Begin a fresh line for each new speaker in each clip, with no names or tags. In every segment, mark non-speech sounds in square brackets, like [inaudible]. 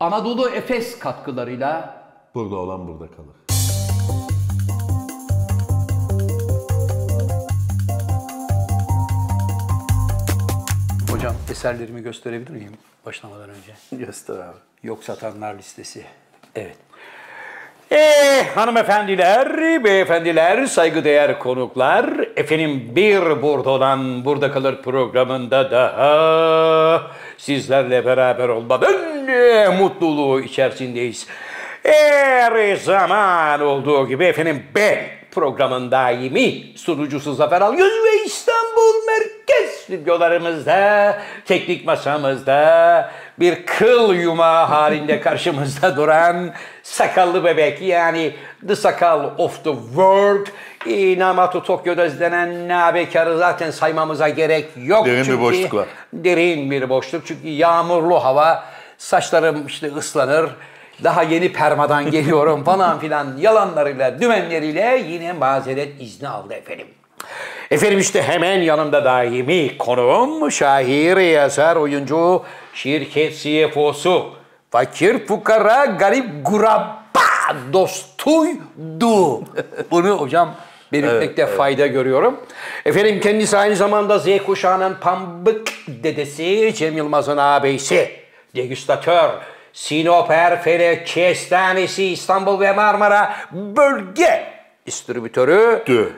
Anadolu Efes katkılarıyla
Burada olan burada kalır.
Hocam eserlerimi gösterebilir miyim başlamadan önce?
Göster abi.
Yok satanlar listesi. Evet. Ee, hanımefendiler, beyefendiler, saygıdeğer konuklar. Efendim bir burada olan Burada Kalır programında daha sizlerle beraber olmanın e, mutluluğu içerisindeyiz. Her zaman olduğu gibi efendim ben programın daimi sunucusu Zafer Algöz ve İstanbul Merkez stüdyolarımızda, teknik masamızda bir kıl yumağı
[laughs]
halinde karşımızda duran sakallı bebek yani the sakal of the world e, Namatu Tokyo'da izlenen nabekarı zaten saymamıza gerek yok.
Derin bir
çünkü,
boşluk var.
Derin bir boşluk çünkü yağmurlu hava saçlarım işte ıslanır. Daha yeni permadan [laughs] geliyorum falan filan yalanlarıyla, dümenleriyle yine mazeret izni aldı efendim. Efendim işte hemen yanımda daimi konuğum şair, yazar, oyuncu, şirket E CFO'su. Fakir, fukara, garip, guraba dostuydu. Bunu hocam belirtmekte fayda görüyorum. Efendim kendisi aynı zamanda Z kuşağının pambık dedesi Cem Yılmaz'ın ağabeysi. Degüstatör, Sinop, Erfele, Kestanesi, İstanbul ve Marmara bölge distribütörü.
Dü.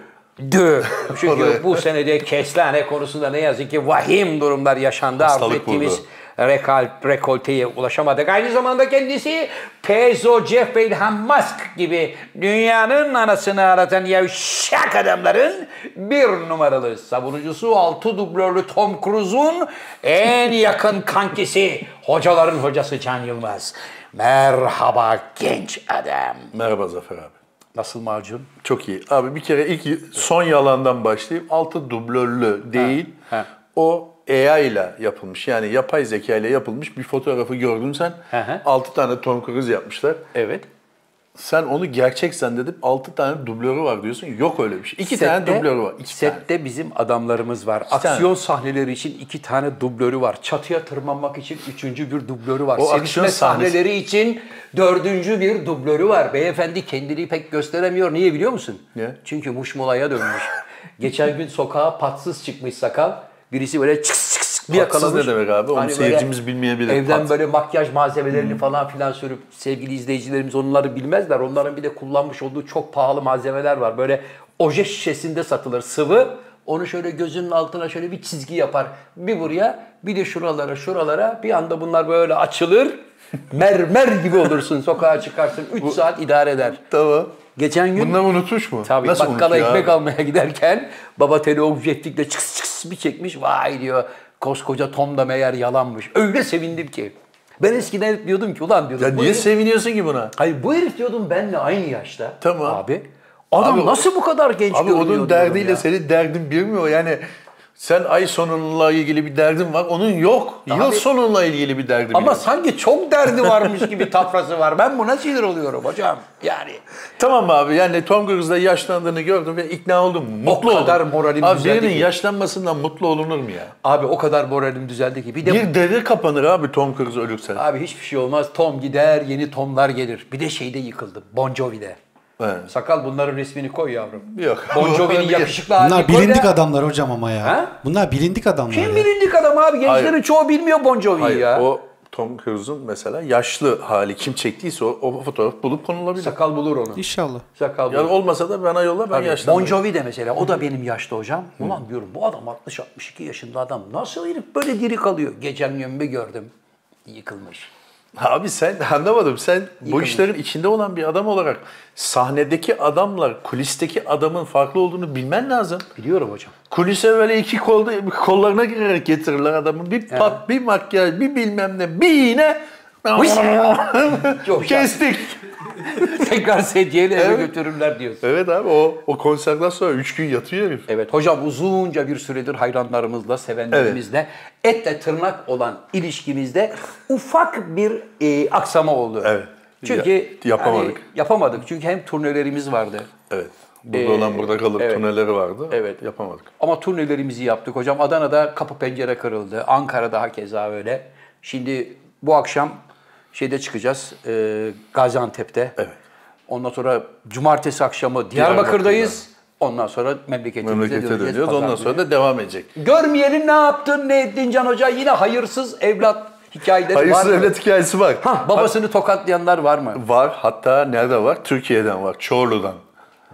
Dö. Çünkü bu senede kestane konusunda ne yazık ki vahim durumlar yaşandı. Arzu
Hastalık
ettiğimiz
vurdu.
rekal, rekolteye ulaşamadık. Aynı zamanda kendisi Pezo, Jeff ve Elon Musk gibi dünyanın anasını ağlatan yavşak adamların bir numaralı savunucusu, altı dublörlü Tom Cruise'un en yakın kankisi, hocaların hocası Can Yılmaz. Merhaba genç adam.
Merhaba Zafer abi.
Nasıl macun?
Çok iyi. Abi bir kere ilk son yalandan başlayayım. Altı dublörlü değil.
Ha, ha.
O AI ile yapılmış. Yani yapay zeka ile yapılmış bir fotoğrafı gördün sen.
Hı hı.
Altı tane Tom Cruise yapmışlar.
Evet.
Sen onu gerçek zannedip altı tane dublörü var diyorsun. Yok öyle bir şey. İki tane
Sette-
dublörü var. İki tane.
sette bizim adamlarımız var.
tane.
aksiyon sahneleri için iki tane dublörü var. Çatıya tırmanmak için üçüncü bir dublörü var.
O
Sevişme
aksiyon sahnesi-
sahneleri için dördüncü bir dublörü var. Beyefendi kendini pek gösteremiyor. Niye biliyor musun?
Niye?
Çünkü muşmulaya
[laughs]
dönmüş. Geçen gün sokağa patsız çıkmış sakal. Birisi böyle çıks çıks çıks bir
Patsız
yakalamış.
ne demek abi? Onu
Hani böyle
seyircimiz bilmeyebilir. Hmm.
Evden
Pat-
böyle makyaj malzemelerini falan filan sürüp sevgili izleyicilerimiz onları bilmezler. Onların bir de kullanmış olduğu çok pahalı malzemeler var. Böyle oje şişesinde satılır sıvı. Onu şöyle gözünün altına şöyle bir çizgi yapar. Bir buraya bir de şuralara şuralara bir anda bunlar böyle açılır.
[laughs]
Mermer gibi olursun sokağa çıkarsın. 3 saat idare eder.
Tamam.
Geçen gün
Bunları unutmuş mu?
Tabii
Nasıl
bakkala
unutuyor
ekmek
abi?
almaya giderken baba tele objektifle çıks çıks bir çekmiş. Vay diyor koskoca Tom da meğer yalanmış. Öyle sevindim ki. Ben eskiden hep diyordum ki ulan diyordum.
Ya
bu
niye
herif-
seviniyorsun ki buna?
Hayır bu herif diyordum benle aynı yaşta.
Tamam.
Abi. Adam
Abi o-
nasıl bu kadar genç
Abi
görünüyor
onun
diyordum
derdiyle
ya.
senin derdin bir mi o? Yani sen ay sonunla ilgili bir derdin var, onun yok. Yıl
Abi-
sonunla ilgili bir derdin
Ama
yok.
sanki çok derdi varmış gibi tafrası var. Ben buna sinir oluyorum hocam. Yani.
Tamam abi yani Tom Cruise'da yaşlandığını gördüm ve ikna oldum. Mutlu oldum.
kadar moralim
Abi
düzeldi
birinin
ki.
yaşlanmasından mutlu olunur mu ya?
Abi o kadar moralim düzeldi ki. Bir de
Bir devir kapanır abi Tom Cruise ölürse.
Abi hiçbir şey olmaz. Tom gider, yeni Tomlar gelir. Bir de şeyde yıkıldı. Bon Jovi'de.
Evet.
Sakal bunların resmini koy yavrum.
Yok. [laughs]
Bon Jovi'nin yakışıklı halini
Bunlar
koy da-
bilindik adamlar hocam ama ya.
Hani Ha?
Bunlar bilindik adamlar.
Kim
ya.
bilindik adam abi? Gençlerin
Hayır.
çoğu bilmiyor Bon Jovi'yi
Hayır,
ya.
o Tom Cruise'un mesela yaşlı hali kim çektiyse o, o fotoğraf bulup konulabilir.
Sakal bulur onu.
İnşallah.
Sakal bulur.
Yani olmasa da bana yolla ben
Tabii. Bon
yaşlanırım.
Jovi de mesela o da benim yaşta hocam. Ulan diyorum bu adam 60-62 yaşında adam. Nasıl herif böyle diri kalıyor? Gecen yönümü gördüm. Yıkılmış.
Abi sen anlamadım. Sen bu
Yıkılmış.
işlerin içinde olan bir adam olarak sahnedeki adamla kulisteki adamın farklı olduğunu bilmen lazım.
Biliyorum hocam.
Kulise böyle iki kolda kollarına girerek getirirler adamı. Bir pat, bir makyaj, bir bilmem ne, bir iğne. [laughs]
Yok ya.
Kestik.
[laughs] Tekrar sedyeyle eve
Evet.
götürürler diyorsun.
Evet abi o o konserden sonra üç gün yatıyor herif.
Evet hocam uzunca bir süredir hayranlarımızla, sevenlerimizle, etle tırnak olan ilişkimizde ufak bir e, aksama oldu.
Evet.
Çünkü
Ya- yapamadık.
hani yapamadık. Çünkü hem turnelerimiz vardı.
Evet. Burada olan burada kalır
Ee, evet.
turneleri vardı.
Evet.
Yapamadık.
Ama turnelerimizi yaptık hocam. Adana'da kapı pencere kırıldı. Ankara'da hakeza öyle. Şimdi bu akşam şeyde çıkacağız. e, Gaziantep'te.
Evet.
Ondan sonra cumartesi akşamı Diyarbakır'dayız. Ondan sonra memleketimize
Memlekete
döneceğiz.
dönüyoruz.
Pazar
Ondan
günü.
sonra da devam edecek.
Görmeyelim ne yaptın ne ettin Can Hoca? Yine hayırsız evlat hikayeleri var
Hayırsız
mı?
evlat hikayesi var.
Hah, babasını tokatlayanlar var mı?
Var. Hatta nerede var? Türkiye'den var. Çorlu'dan.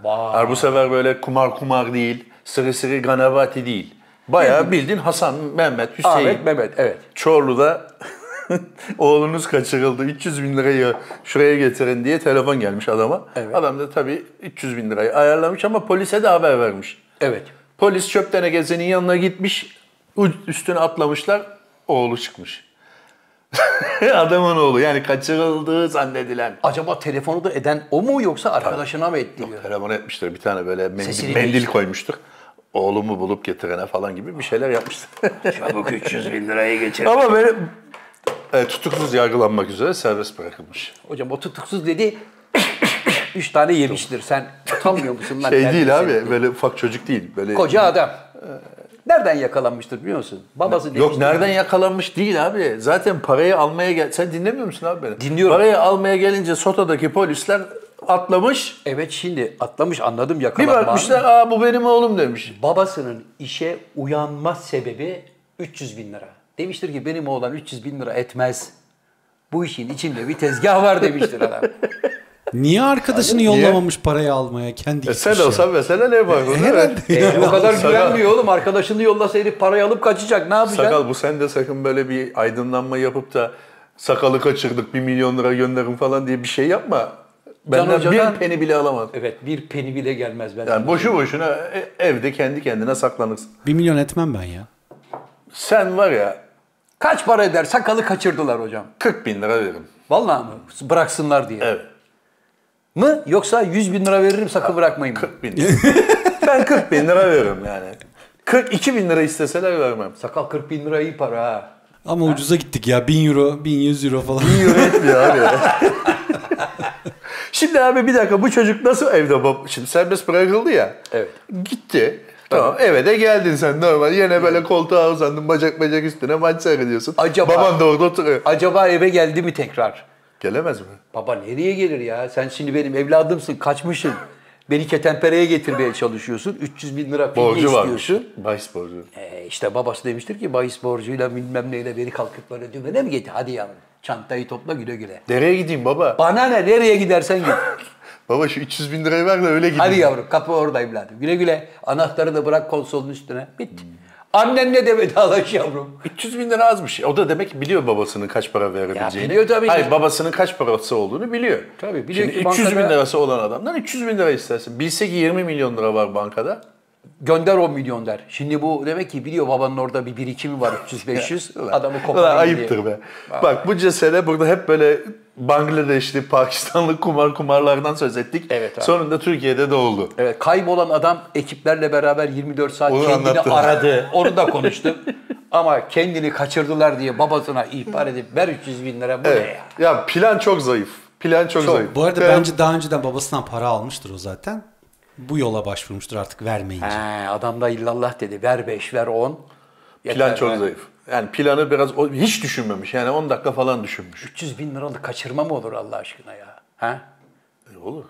Var. Bu sefer böyle kumar kumar değil. Sırı sırı ganavati değil. Bayağı bildin Hasan, Mehmet, Hüseyin.
Ahmet Şey, Mehmet evet.
Çorlu'da [laughs] oğlunuz kaçırıldı. 300 bin lirayı şuraya getirin diye telefon gelmiş adama.
Evet.
Adam da tabii 300 bin lirayı ayarlamış ama polise de haber vermiş.
Evet.
Polis çöp tenekesinin yanına gitmiş. u- Üstüne atlamışlar. Oğlu çıkmış. [laughs] Adamın oğlu yani kaçırıldı zannedilen.
Acaba telefonu da eden o mu yoksa arkadaşına mı etti? diyor.
Telefon etmişler bir tane böyle mendil,
Sesini
mendil
değiştir.
koymuştur. Oğlumu bulup getirene falan gibi bir
[laughs]
şeyler yapmışlar.
Çabuk 300 bin lirayı geçir.
ama böyle e, tutuksuz yargılanmak üzere serbest bırakılmış.
Hocam o tutuksuz dedi. [laughs] Üç tane yemiştir. Sen utanmıyor musun lan?
Şey değil abi
Terbiyesiz.
böyle ufak çocuk değil. Böyle
Koca adam. Nereden yakalanmıştır biliyor musun? Babası demiştir.
Yok nereden yakalanmış değil abi. Zaten parayı almaya gel... Sen dinlemiyor musun abi beni?
Dinliyorum.
Parayı almaya gelince Soto'daki polisler atlamış.
Evet şimdi atlamış anladım
Bir
yakalanma.
bakmışlar aa bu benim oğlum demiş.
Şey- Babasının işe uyanma sebebi 300 bin lira. Demiştir ki benim oğlan 300 bin lira etmez. Bu işin içinde bir tezgah var demiştir adam.
[laughs]
Niye arkadaşını
Niye?
yollamamış parayı almaya kendi
E sen
gitmiş ya?
olsan mesela ne yapardın? Herhalde.
E, o kadar
Ee, Sakal-
güvenmiyor oğlum. Arkadaşını yollasaydı parayı alıp kaçacak. Ne yapacak?
Sakal bu sen de sakın böyle bir aydınlanma yapıp da sakalı kaçırdık bir milyon lira gönderin falan diye bir şey yapma. Benden
Hoca'dan-
bir peni bile alamadım.
Evet bir peni bile gelmez ben.
Yani boşu boşuna e- evde kendi kendine saklanırsın.
Bir milyon etmem ben ya.
Sen var ya
Kaç para eder? Sakalı kaçırdılar hocam.
40 bin lira veririm.
Vallahi mı? Bıraksınlar diye.
Evet.
Mı? Yoksa 100 bin lira veririm sakın bırakmayın. mı?
40 bin lira. ben 40 bin lira veririm yani. 42 bin lira isteseler vermem.
Sakal 40 bin lira iyi para ha.
Ama ucuza gittik ya. 1000 euro, 1100 euro falan.
Etmiyor abi. [laughs] Şimdi abi bir dakika bu çocuk nasıl evde bab... Şimdi serbest bırakıldı ya.
Evet.
Gitti. Tamam eve de geldin sen normal. Yine böyle koltuğa uzandın bacak bacak üstüne maç seyrediyorsun.
Acaba-
Baban da orada oturuyor.
Acaba eve geldi mi tekrar?
Gelemez mi?
Baba nereye gelir ya? Sen şimdi benim evladımsın, kaçmışsın. Beni ketenpereye getirmeye çalışıyorsun. 300 bin lira fidye
Borcu varmış.
istiyorsun.
Bahis borcu.
E, işte babası demiştir ki bahis borcuyla bilmem neyle beni kalkıp böyle dümene mi getir? Hadi yavrum çantayı topla güle güle.
Nereye gideyim baba?
Bana ne nereye gidersen git.
[laughs] Baba şu 300 bin lirayı ver de öyle gideyim.
Hadi yavrum kapı orada evladım. Güle güle anahtarı da bırak konsolun üstüne. Bit. Annenle de vedalaş yavrum.
300 bin lira az bir şey. O da demek ki biliyor babasının kaç para verebileceğini.
Ya biliyor tabii ki.
Hayır babasının kaç parası olduğunu biliyor.
Tabii, biliyor
Şimdi
ki
300 bin
bankada-
lirası olan adamdan 300 bin lira istersin. Bilse ki 20 milyon lira var bankada.
Gönder 10 milyon der. Şimdi bu demek ki biliyor babanın orada bir birikimi var 300-500. adamı koparayım
[laughs] Ulan
diye.
ayıptır be. Bak bu cesede burada hep böyle Bangladeşli, Pakistanlı kumar kumarlardan söz ettik.
Evet abi.
Sonunda Türkiye'de de oldu.
Evet, kaybolan adam ekiplerle beraber 24 saat
Onu
kendini
anlattın.
aradı. Onu da konuştum. Ama kendini kaçırdılar diye babasına ihbar edip ver 300 bin lira bu ne
Evet.
ya?
Ya plan çok zayıf. Plan çok, zayıf.
[laughs] Bu arada
Plan-
bence daha önceden babasından para almıştır o zaten. Bu yola başvurmuştur artık vermeyince.
He, adam da illallah dedi. Ver 5, ver 10.
plan çok zayıf. Yani planı biraz o- hiç düşünmemiş. Yani 10 dakika falan düşünmüş.
300 bin liralık kaçırma mı olur Allah aşkına ya? Ha?
E, Olur.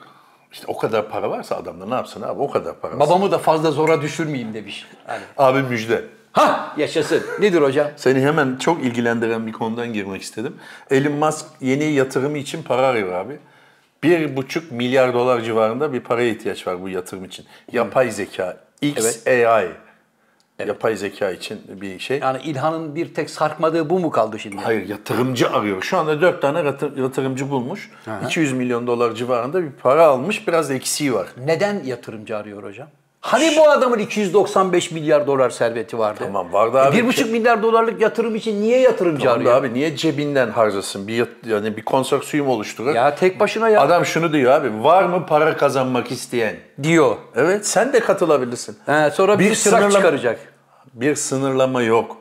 İşte o kadar para varsa adamda ne yapsın abi? O kadar para. varsa.
Babamı da fazla zora düşürmeyeyim demiş. Hani.
Abi müjde.
Ha yaşasın. Nedir hocam?
Seni hemen çok ilgilendiren bir konudan girmek istedim. Elon Musk yeni yatırımı için para arıyor abi. 1,5 milyar dolar civarında bir paraya ihtiyaç var bu yatırım için. Yapay zeka, XAI. Yapay zeka için bir şey.
Yani İlhan'ın bir tek sarkmadığı bu mu kaldı şimdi?
Hayır yatırımcı arıyor. Şu anda 4 tane yatı- yatırımcı bulmuş. 200 milyon dolar civarında bir para almış. Biraz eksiği var.
Neden yatırımcı arıyor hocam? Hani bu adamın 295 milyar dolar serveti vardı?
Tamam, vardı abi.
1,5 milyar dolarlık yatırım için niye yatırımcı
Tamam da
arıyor?
abi niye cebinden harcasın? Bir yat- yani bir konsorsiyum oluşturur.
Ya tek başına ya
Adam şunu diyor abi. Var mı para kazanmak isteyen?
diyor.
Evet sen de katılabilirsin.
He, sonra bir,
Bir
çırak
sınırlama-
çıkaracak.
Bir sınırlama yok.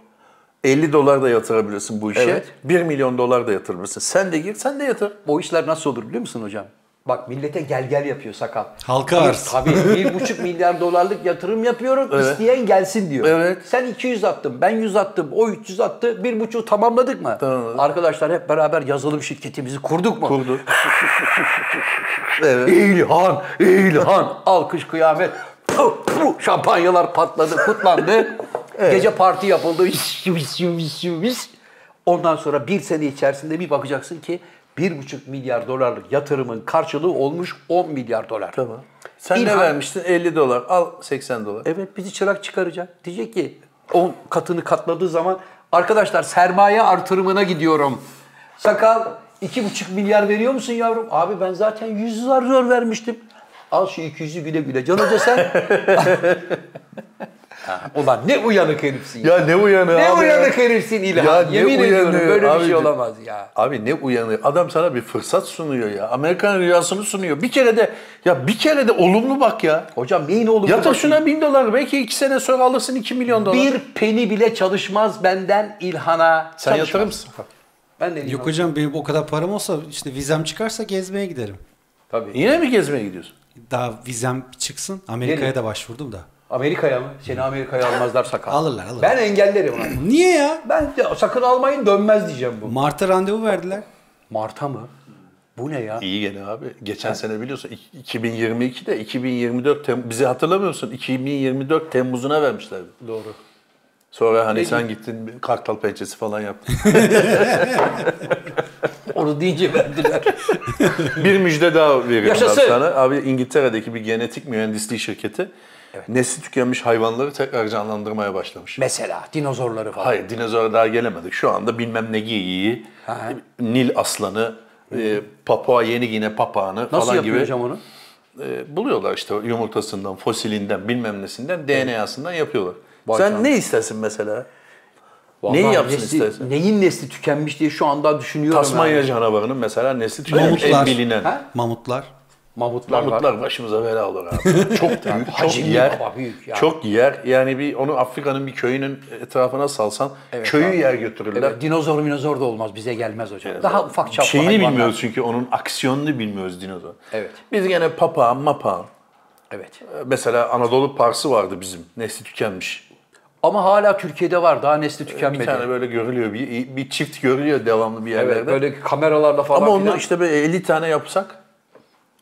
50 dolar da yatırabilirsin bu işe.
Evet.
1 milyon dolar da yatırabilirsin. Sen de gir, sen de yatır.
O işler nasıl olur biliyor musun hocam? Bak millete gel gel yapıyor sakal.
Halka
Bir-
arz.
Tabii bir
[laughs]
buçuk milyar dolarlık yatırım yapıyorum. isteyen gelsin diyor.
Evet.
Sen 200 attın, ben 100 attım, o 300 attı. Bir buçuğu tamamladık mı?
Tamamladık.
Arkadaşlar hep beraber yazılım şirketimizi kurduk mu?
Kurdu. evet.
İlhan, İlhan. Alkış kıyamet. Puh, puh, Şampanyalar patladı, kutlandı. Gece parti yapıldı. Üş, üş, üş, üş. Ondan sonra bir sene içerisinde bir bakacaksın ki 1,5 milyar dolarlık yatırımın karşılığı olmuş 10 milyar dolar.
Tamam. Sen
İlhan-
ne vermiştin? 50 dolar. Al 80 dolar.
Evet bizi çırak çıkaracak. Diyecek ki 10 katını katladığı zaman arkadaşlar sermaye artırımına gidiyorum. Sakal 2,5 milyar veriyor musun yavrum? Abi ben zaten 100 zar zor vermiştim. Al şu 200'ü güle güle. Can Hoca
[laughs]
sen... Ha, Ulan ne uyanık herifsin ya.
Ya ne uyanığı
ne
abi ya.
uyanık herifsin İlhan.
Ya ne
Yemin ediyorum
uyanığı
böyle bir şey
abicim.
olamaz ya.
Abi ne uyanığı. Adam sana bir fırsat sunuyor ya. Amerikan rüyasını sunuyor. Bir kere de ya bir kere de olumlu bak ya.
Hocam neyin olur?
Yatır şuna 1000 dolar. Belki 2 sene sonra alırsın 2 milyon dolar.
Bir peni bile çalışmaz benden İlhan'a.
Sen
Çalışmaz.
yatırır mısın?
Ben de İlhan'a.
Yok hocam benim o kadar param olsa işte vizem çıkarsa gezmeye giderim.
Tabii.
Yine mi gezmeye gidiyorsun?
Daha vizem çıksın. Amerika'ya
Gelin.
da başvurdum da.
Amerika'ya mı? Seni Amerika'ya almazlar sakal.
Alırlar, alırlar.
Ben engellerim onu.
Niye ya?
Ben de sakın almayın dönmez diyeceğim bu.
Mart'a randevu verdiler.
Mart'a mı? Bu ne ya?
İyi gene abi. Geçen sene biliyorsun i- 2022'de 2024 Tem- bizi hatırlamıyorsun. 2024 Temmuz'una vermişlerdi.
Doğru.
Sonra hani sen gittin bir kartal pençesi falan yaptın. [laughs]
Onu diyeceğim verdiler.
bir müjde daha veriyorum
Yaşasın.
abi sana. Abi İngiltere'deki bir genetik mühendisliği şirketi nesli tükenmiş hayvanları tekrar canlandırmaya
[laughs]
başlamış.
Mesela dinozorları falan.
Hayır dinozora daha gelemedik. Şu anda bilmem ne geyiği, Nil aslanı, e, Papua Yeni Gine papağanı
Nasıl
falan
yapıyor
gibi
hocam onu?
e, buluyorlar işte yumurtasından, fosilinden, bilmem nesinden, DNA'sından yapıyorlar.
Vay
Sen
canına.
ne istersin mesela?
Vallahi
Neyi yapsın
nesli-
istersin?
Neyin nesli tükenmiş diye şu anda düşünüyorum.
Tasmanya
yani.
canavarının mesela nesli tükenmiş en
Mamutlar.
bilinen.
Ha?
Mamutlar.
Mamutlar, var.
Mamutlar başımıza bela
[laughs]
olur abi. Çok büyük, çok
hacimli
yer.
baba, büyük yani.
Çok yer. Yani bir onu Afrika'nın bir köyünün etrafına salsan köyü yer götürürler.
Evet, dinozor minozor da olmaz bize gelmez hocam. Daha ufak çaplı
Şeyini
hayvanlar.
bilmiyoruz çünkü onun aksiyonunu bilmiyoruz dinozor.
Evet.
Biz gene papağan, mapağan. Ee,
Evet.
Mesela Anadolu Parsı vardı bizim. Nesli tükenmiş.
Ama hala Türkiye'de var daha nesli tükenmedi.
Bir tane böyle görülüyor. Bir, bir çift görülüyor devamlı bir yerlerde.
evet, böyle kameralarla falan
Ama onu
filan.
işte böyle 50 tane yapsak.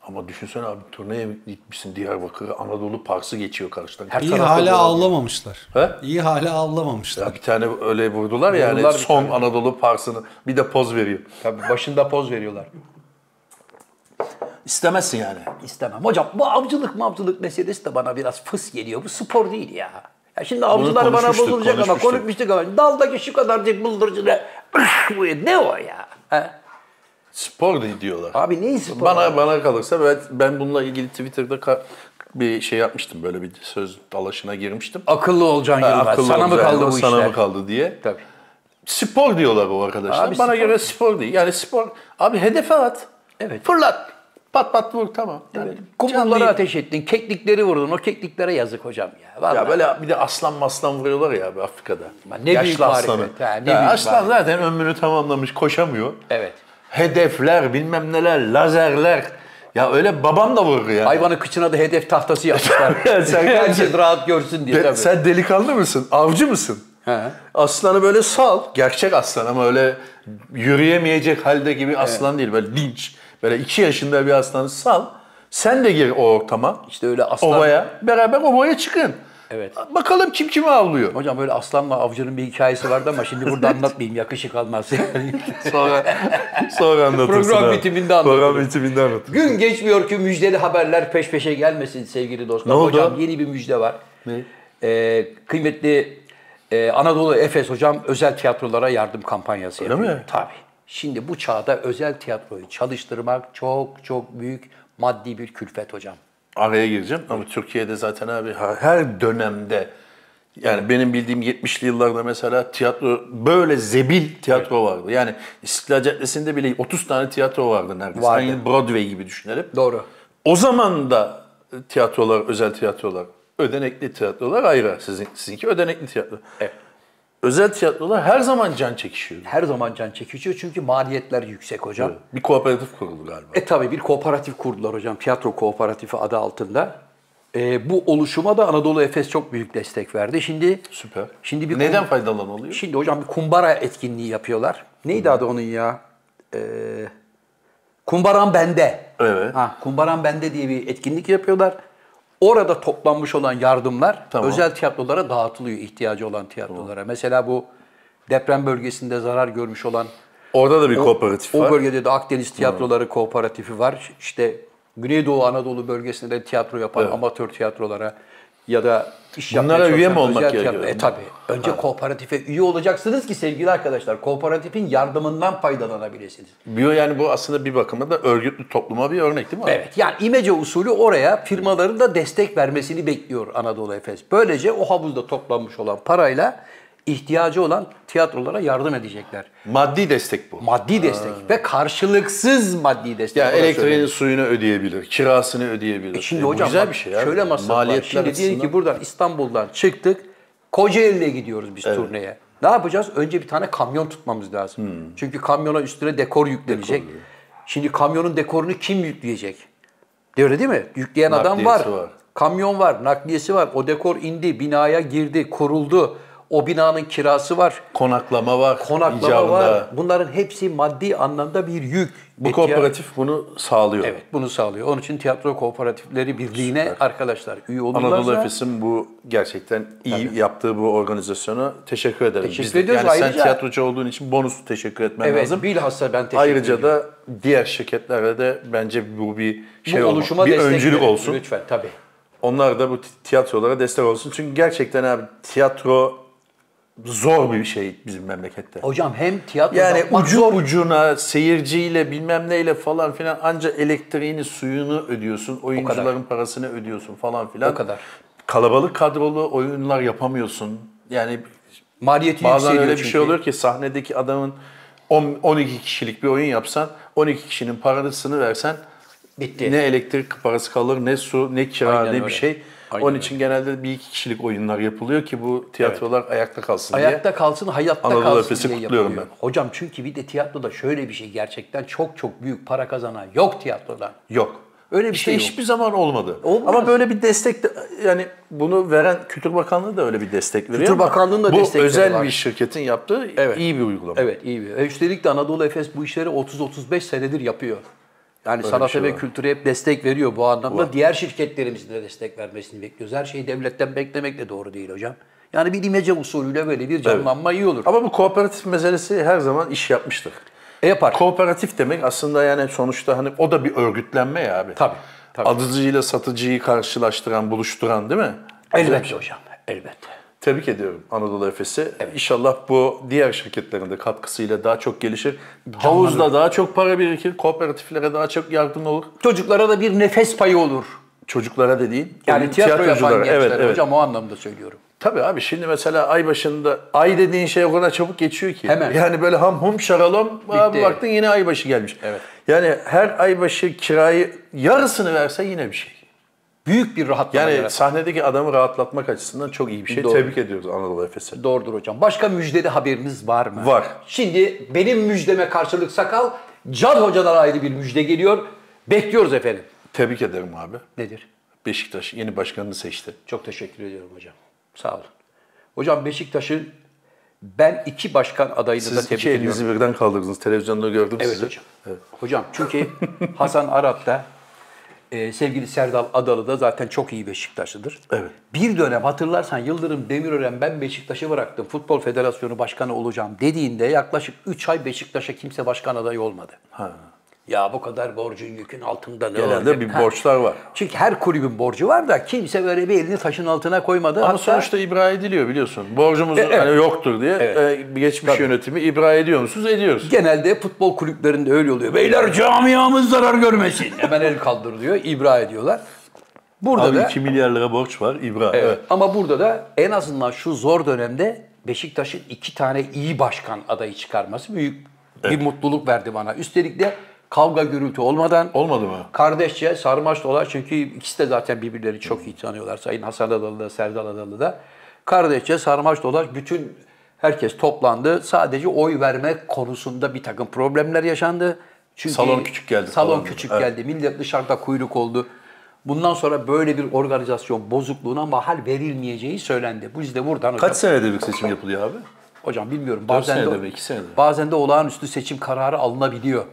Ama düşünsene abi turneye gitmişsin Diyarbakır'a. Anadolu Parsı geçiyor karşıdan. Her
İyi
tarafta
hala
dolanıyor.
avlamamışlar.
He?
İyi hala avlamamışlar.
Ya bir tane öyle vurdular yani
Vurdular bir
son
tane.
Anadolu Parsı'nı bir de poz veriyor.
Tabii başında poz veriyorlar.
İstemezsin yani.
İstemem. Hocam bu avcılık mavcılık meselesi de bana biraz fıs geliyor. Bu spor değil ya. Ya şimdi avcılar bana
konuşmuştuk,
bozulacak ama
konuşmuştuk.
konuşmuştuk ama daldaki şu kadarcık bıldırcı [laughs] ne? ne o ya? He?
Spor da diyorlar.
Abi ne spor?
bana bana kalırsa ben, ben bununla ilgili Twitter'da ka- bir şey yapmıştım. Böyle bir söz dalaşına girmiştim.
Akıllı olacaksın yıllar.
Akıllı
sana mı
olacağı
kaldı bu
yana,
işler?
Sana mı kaldı diye.
Tabii.
Spor diyorlar o arkadaşlar.
Abi
Bana
spor.
göre spor değil. Yani spor abi hedefe at.
Evet.
Fırlat. Pat pat vur tamam. Yani
Kumulları
canlı-
ateş ettin, keklikleri vurdun. O kekliklere yazık hocam ya. Vallahi.
Ya böyle bir de aslan maslan vuruyorlar ya abi Afrika'da.
Ne büyük marifet, ha, ne
Ya
büyük
aslan zaten ömrünü tamamlamış koşamıyor.
Evet.
Hedefler bilmem neler lazerler. Ya öyle babam da vurur ya.
Hayvanı kıçına da hedef
[laughs]
tahtası yapmışlar.
Ya sen-
Herkes rahat görsün diye.
Be-
tabii.
sen delikanlı mısın? Avcı mısın?
He.
Aslanı böyle sal. Gerçek aslan ama öyle yürüyemeyecek halde gibi aslan değil. Böyle dinç. Böyle iki yaşında bir aslanı sal. Sen de gir o ortama.
İşte öyle aslan-
Ovaya. Beraber ovaya çıkın.
Evet.
Bakalım kim kimi
[laughs]
avlıyor.
Hocam böyle aslanla avcının bir hikayesi vardı ama şimdi burada anlatmayayım yakışık almaz. Yani.
[laughs] Sonra sonra anlatırsın.
Program
abi.
bitiminde anlatırım.
Program bitiminde anlatırım.
Gün geçmiyor ki müjdeli haberler peş peşe gelmesin sevgili dostlar.
Ne oldu?
Hocam yeni bir müjde var. Ee, kıymetli e, Anadolu Efes hocam özel tiyatrolara yardım kampanyası Öyle
mi?
Tabii. Şimdi bu çağda özel tiyatroyu çalıştırmak çok çok büyük maddi bir külfet hocam.
Araya gireceğim ama Türkiye'de zaten abi her- her dönemde yani benim bildiğim 70'li yıllarda mesela tiyatro böyle zebil tiyatro vardı. Yani İstiklal Caddesi'nde bile 30 tane tiyatro vardı neredeyse.
Vardı.
Aynı Broadway gibi düşünelim.
Doğru.
O zaman da tiyatrolar, özel tiyatrolar, ödenekli tiyatrolar ayrı. Sizin, sizinki ödenekli tiyatro.
Evet.
özel tiyatrolar her zaman can çekişiyor.
Her zaman can çekişiyor çünkü maliyetler yüksek hocam.
Bir kooperatif kuruldu galiba.
E tabii bir kooperatif kurdular hocam. Tiyatro kooperatifi adı altında. E, bu oluşuma da Anadolu Efes çok büyük destek verdi. Şimdi
Süper.
Şimdi bir
Neden
kum-
faydalanılıyor?
Şimdi hocam bir kumbara etkinliği yapıyorlar. Neydi adı onun ya? E, kumbaran bende.
Evet.
Ha, kumbaran bende diye bir etkinlik yapıyorlar. Orada toplanmış olan yardımlar
Tamam.
özel tiyatrolara dağıtılıyor ihtiyacı olan tiyatrolara. Mesela bu deprem bölgesinde zarar görmüş olan
Orada da bir kooperatif
o
var.
bölgede de Akdeniz Tiyatroları Kooperatifi var. İşte Güneydoğu Anadolu bölgesinde de tiyatro yapan amatör tiyatrolara ya da iş yapmaya
Bunlara üye mi
çalışan
olmak
özel
gerekiyor?
tiyatro- E tabi. Önce kooperatife üye olacaksınız ki sevgili arkadaşlar kooperatifin yardımından faydalanabilirsiniz.
Biyo yani bu aslında bir bakıma da örgütlü topluma bir örnek değil mi? abi?
Evet. Yani imece usulü oraya firmaların da destek vermesini bekliyor Anadolu Efes. Böylece o havuzda toplanmış olan parayla ihtiyacı olan tiyatrolara yardım edecekler.
Maddi destek bu.
Maddi destek ve karşılıksız maddi destek.
yani
Ona söyleyeyim.
elektriğini suyunu ödeyebilir, kirasını ödeyebilir.
E Şimdi
E bu
hocam
güzel
bak,
bir şey ya.
şöyle masraf var.
Maliyetler
Şimdi diyelim
açısından-
ki buradan İstanbul'dan çıktık. Kocaeli'ye gidiyoruz biz turneye. Ne yapacağız? Önce bir tane kamyon tutmamız
Hmm.
lazım. Çünkü kamyona üstüne dekor yüklenecek. Şimdi kamyonun dekorunu kim yükleyecek? Öyle değil mi? Yükleyen adam var.
Nakliyesi var.
Kamyon var, nakliyesi var. O dekor indi, binaya girdi, kuruldu. O binanın kirası var.
konaklama var.
Konaklama
icabında.
var. Bunların hepsi maddi anlamda bir yük.
Bu
İhtiyaç-
kooperatif bunu sağlıyor.
Evet bunu sağlıyor. Onun için tiyatro kooperatifleri birliğine arkadaşlar üye olurlarsa
Anadolu Efes'in bu gerçekten iyi yaptığı bu organizasyona teşekkür ederim.
Teşekkür
de-
ediyoruz.
Yani sen
Ayrıca-
tiyatrocu olduğun için bonus teşekkür etmen
evet,
lazım.
bilhassa ben teşekkür
Ayrıca
ediyorum.
da diğer şirketlerde de bence bu bir
Bu
şey olmalı.
oluşuma
bir
destek
öncülük
verin.
olsun.
Lütfen tabii.
Onlar da bu ti- tiyatrolara destek olsun. Çünkü gerçekten abi tiyatro zor bir şey bizim memlekette.
Hocam hem tiyatro
Yani
yapmak
ucu
zor.
ucuna seyirciyle bilmem neyle falan filan anca elektriğini suyunu ödüyorsun. Oyuncuların parasını ödüyorsun falan filan.
O kadar.
Kalabalık kadrolu oyunlar yapamıyorsun. Yani
maliyeti
bazen
yükseliyor
öyle bir
çünkü.
şey oluyor ki sahnedeki adamın 10, 12 kişilik bir oyun yapsan 12 kişinin parasını versen
Bitti.
ne elektrik parası kalır ne su ne kira
Aynen
ne
öyle.
bir şey.
Aynen
Onun için genelde bir iki kişilik oyunlar yapılıyor ki bu tiyatrolar ayakta kalsın diye.
Ayakta kalsın, hayatta
Anadolu
kalsın
Efes'i
diye
kutluyorum
yapılıyor. Hocam çünkü bir de tiyatroda şöyle bir şey gerçekten çok çok büyük para kazanan yok tiyatroda.
Yok.
Öyle bir
işte
şey yok.
hiçbir zaman olmadı.
Olmaz.
Ama böyle bir destek de, yani bunu veren Kültür Bakanlığı da öyle bir destek veriyor.
Kültür
ama
Bakanlığı'nın da
bu
destekleri
özel
var.
bir şirketin yaptığı
Evet.
iyi bir uygulama.
Evet iyi. bir- Üstelik de Anadolu Efes bu işleri 30-35 senedir yapıyor. Yani sanata
şey
ve
var.
kültüre hep destek veriyor bu anlamda. Diğer şirketlerimizin de destek vermesini bekliyoruz. Her şeyi devletten beklemek de doğru değil hocam. Yani bir imece usulüyle böyle bir canlanma iyi olur.
Ama bu kooperatif meselesi her zaman iş yapmıştır.
E yapar.
Kooperatif demek aslında yani sonuçta hani o da bir örgütlenme ya abi.
Tabii, tabii.
Alıcıyla satıcıyı karşılaştıran, buluşturan değil mi? şey.
Elbette hocam. Elbette.
Tebrik ediyorum Anadolu Efes'i. İnşallah bu diğer şirketlerin de katkısıyla daha çok gelişir. Havuzda daha çok para birikir, kooperatiflere daha çok yardım olur.
Çocuklara da bir nefes payı olur.
Çocuklara da değil.
Yani tiyatro yapan
tiyatroculara.
gençlere
Evet, evet.
hocam o anlamda söylüyorum.
Tabii abi şimdi mesela ay başında ay dediğin şey o kadar çabuk geçiyor ki.
Hemen.
Yani böyle ham hum şaralom abi
Bitti.
baktın yine ay başı gelmiş.
Evet.
Yani her ay başı kirayı yarısını verse yine bir şey.
Büyük bir rahatlama
Yani
yaratır.
sahnedeki adamı rahatlatmak açısından çok iyi bir şey.
Doğru.
Tebrik ediyoruz Anadolu Efes'e.
Doğrudur hocam. Başka müjdeli haberiniz var mı?
Var.
Şimdi benim müjdeme karşılık sakal, Can Hoca'dan ayrı bir müjde geliyor. Bekliyoruz efendim.
Tebrik ederim abi.
Nedir?
Beşiktaş yeni başkanını seçti.
Çok teşekkür ediyorum hocam. Sağ olun. Hocam Beşiktaş'ın ben iki başkan adayını da
Siz
tebrik
iki
ediyorum.
elinizi birden kaldırdınız. Televizyonda gördüm
Evet
sizi.
hocam. Hocam çünkü Hasan Arap da e, sevgili Serdal Adalı da zaten çok iyi Beşiktaşlıdır.
Evet.
Bir dönem hatırlarsan Yıldırım Demirören ben Beşiktaş'ı bıraktım. Futbol Federasyonu Başkanı olacağım dediğinde yaklaşık 3 ay Beşiktaş'a kimse başkan adayı olmadı.
Ha.
Ya bu kadar borcun yükün altında ne olacak?
Genelde bir
Ha.
borçlar var.
Çünkü her kulübün borcu var da kimse böyle bir elini taşın altına koymadı.
Ama
Hatta-
sonuçta ibra ediliyor biliyorsun. Borcumuz
E, evet.
hani yoktur diye
Evet.
e, geçmiş yönetimi ibra ediyor musunuz? Ediyoruz.
Genelde futbol kulüplerinde öyle oluyor. Beyler camiamız zarar görmesin. Hemen el kaldırılıyor, ibra ediyorlar. Burada
Abi
da
2 milyar lira borç var ibra.
Evet.
Evet.
Ama burada da en azından şu zor dönemde Beşiktaş'ın iki tane iyi başkan adayı çıkarması büyük bir mutluluk verdi bana. Üstelik de kavga gürültü olmadan
Olmadı mı?
kardeşçe sarmaş dolar çünkü ikisi de zaten birbirlerini çok iyi tanıyorlar. Sayın Hasan Adalı da Serdal Adalı da. Kardeşçe sarmaş dolaş bütün Herkes toplandı. Sadece oy verme konusunda bir takım problemler yaşandı. Çünkü
Salon küçük geldi
Salon
falan.
küçük
Evet.
geldi. Millet dışarıda kuyruk oldu. Bundan sonra böyle bir organizasyon bozukluğuna mahal verilmeyeceği söylendi. Biz de buradan hocam,
Kaç senede bir seçim yapılıyor abi?
hocam bilmiyorum. Bazen
senede
de,
mi, iki senede mi?
bazen de olağanüstü seçim kararı alınabiliyor.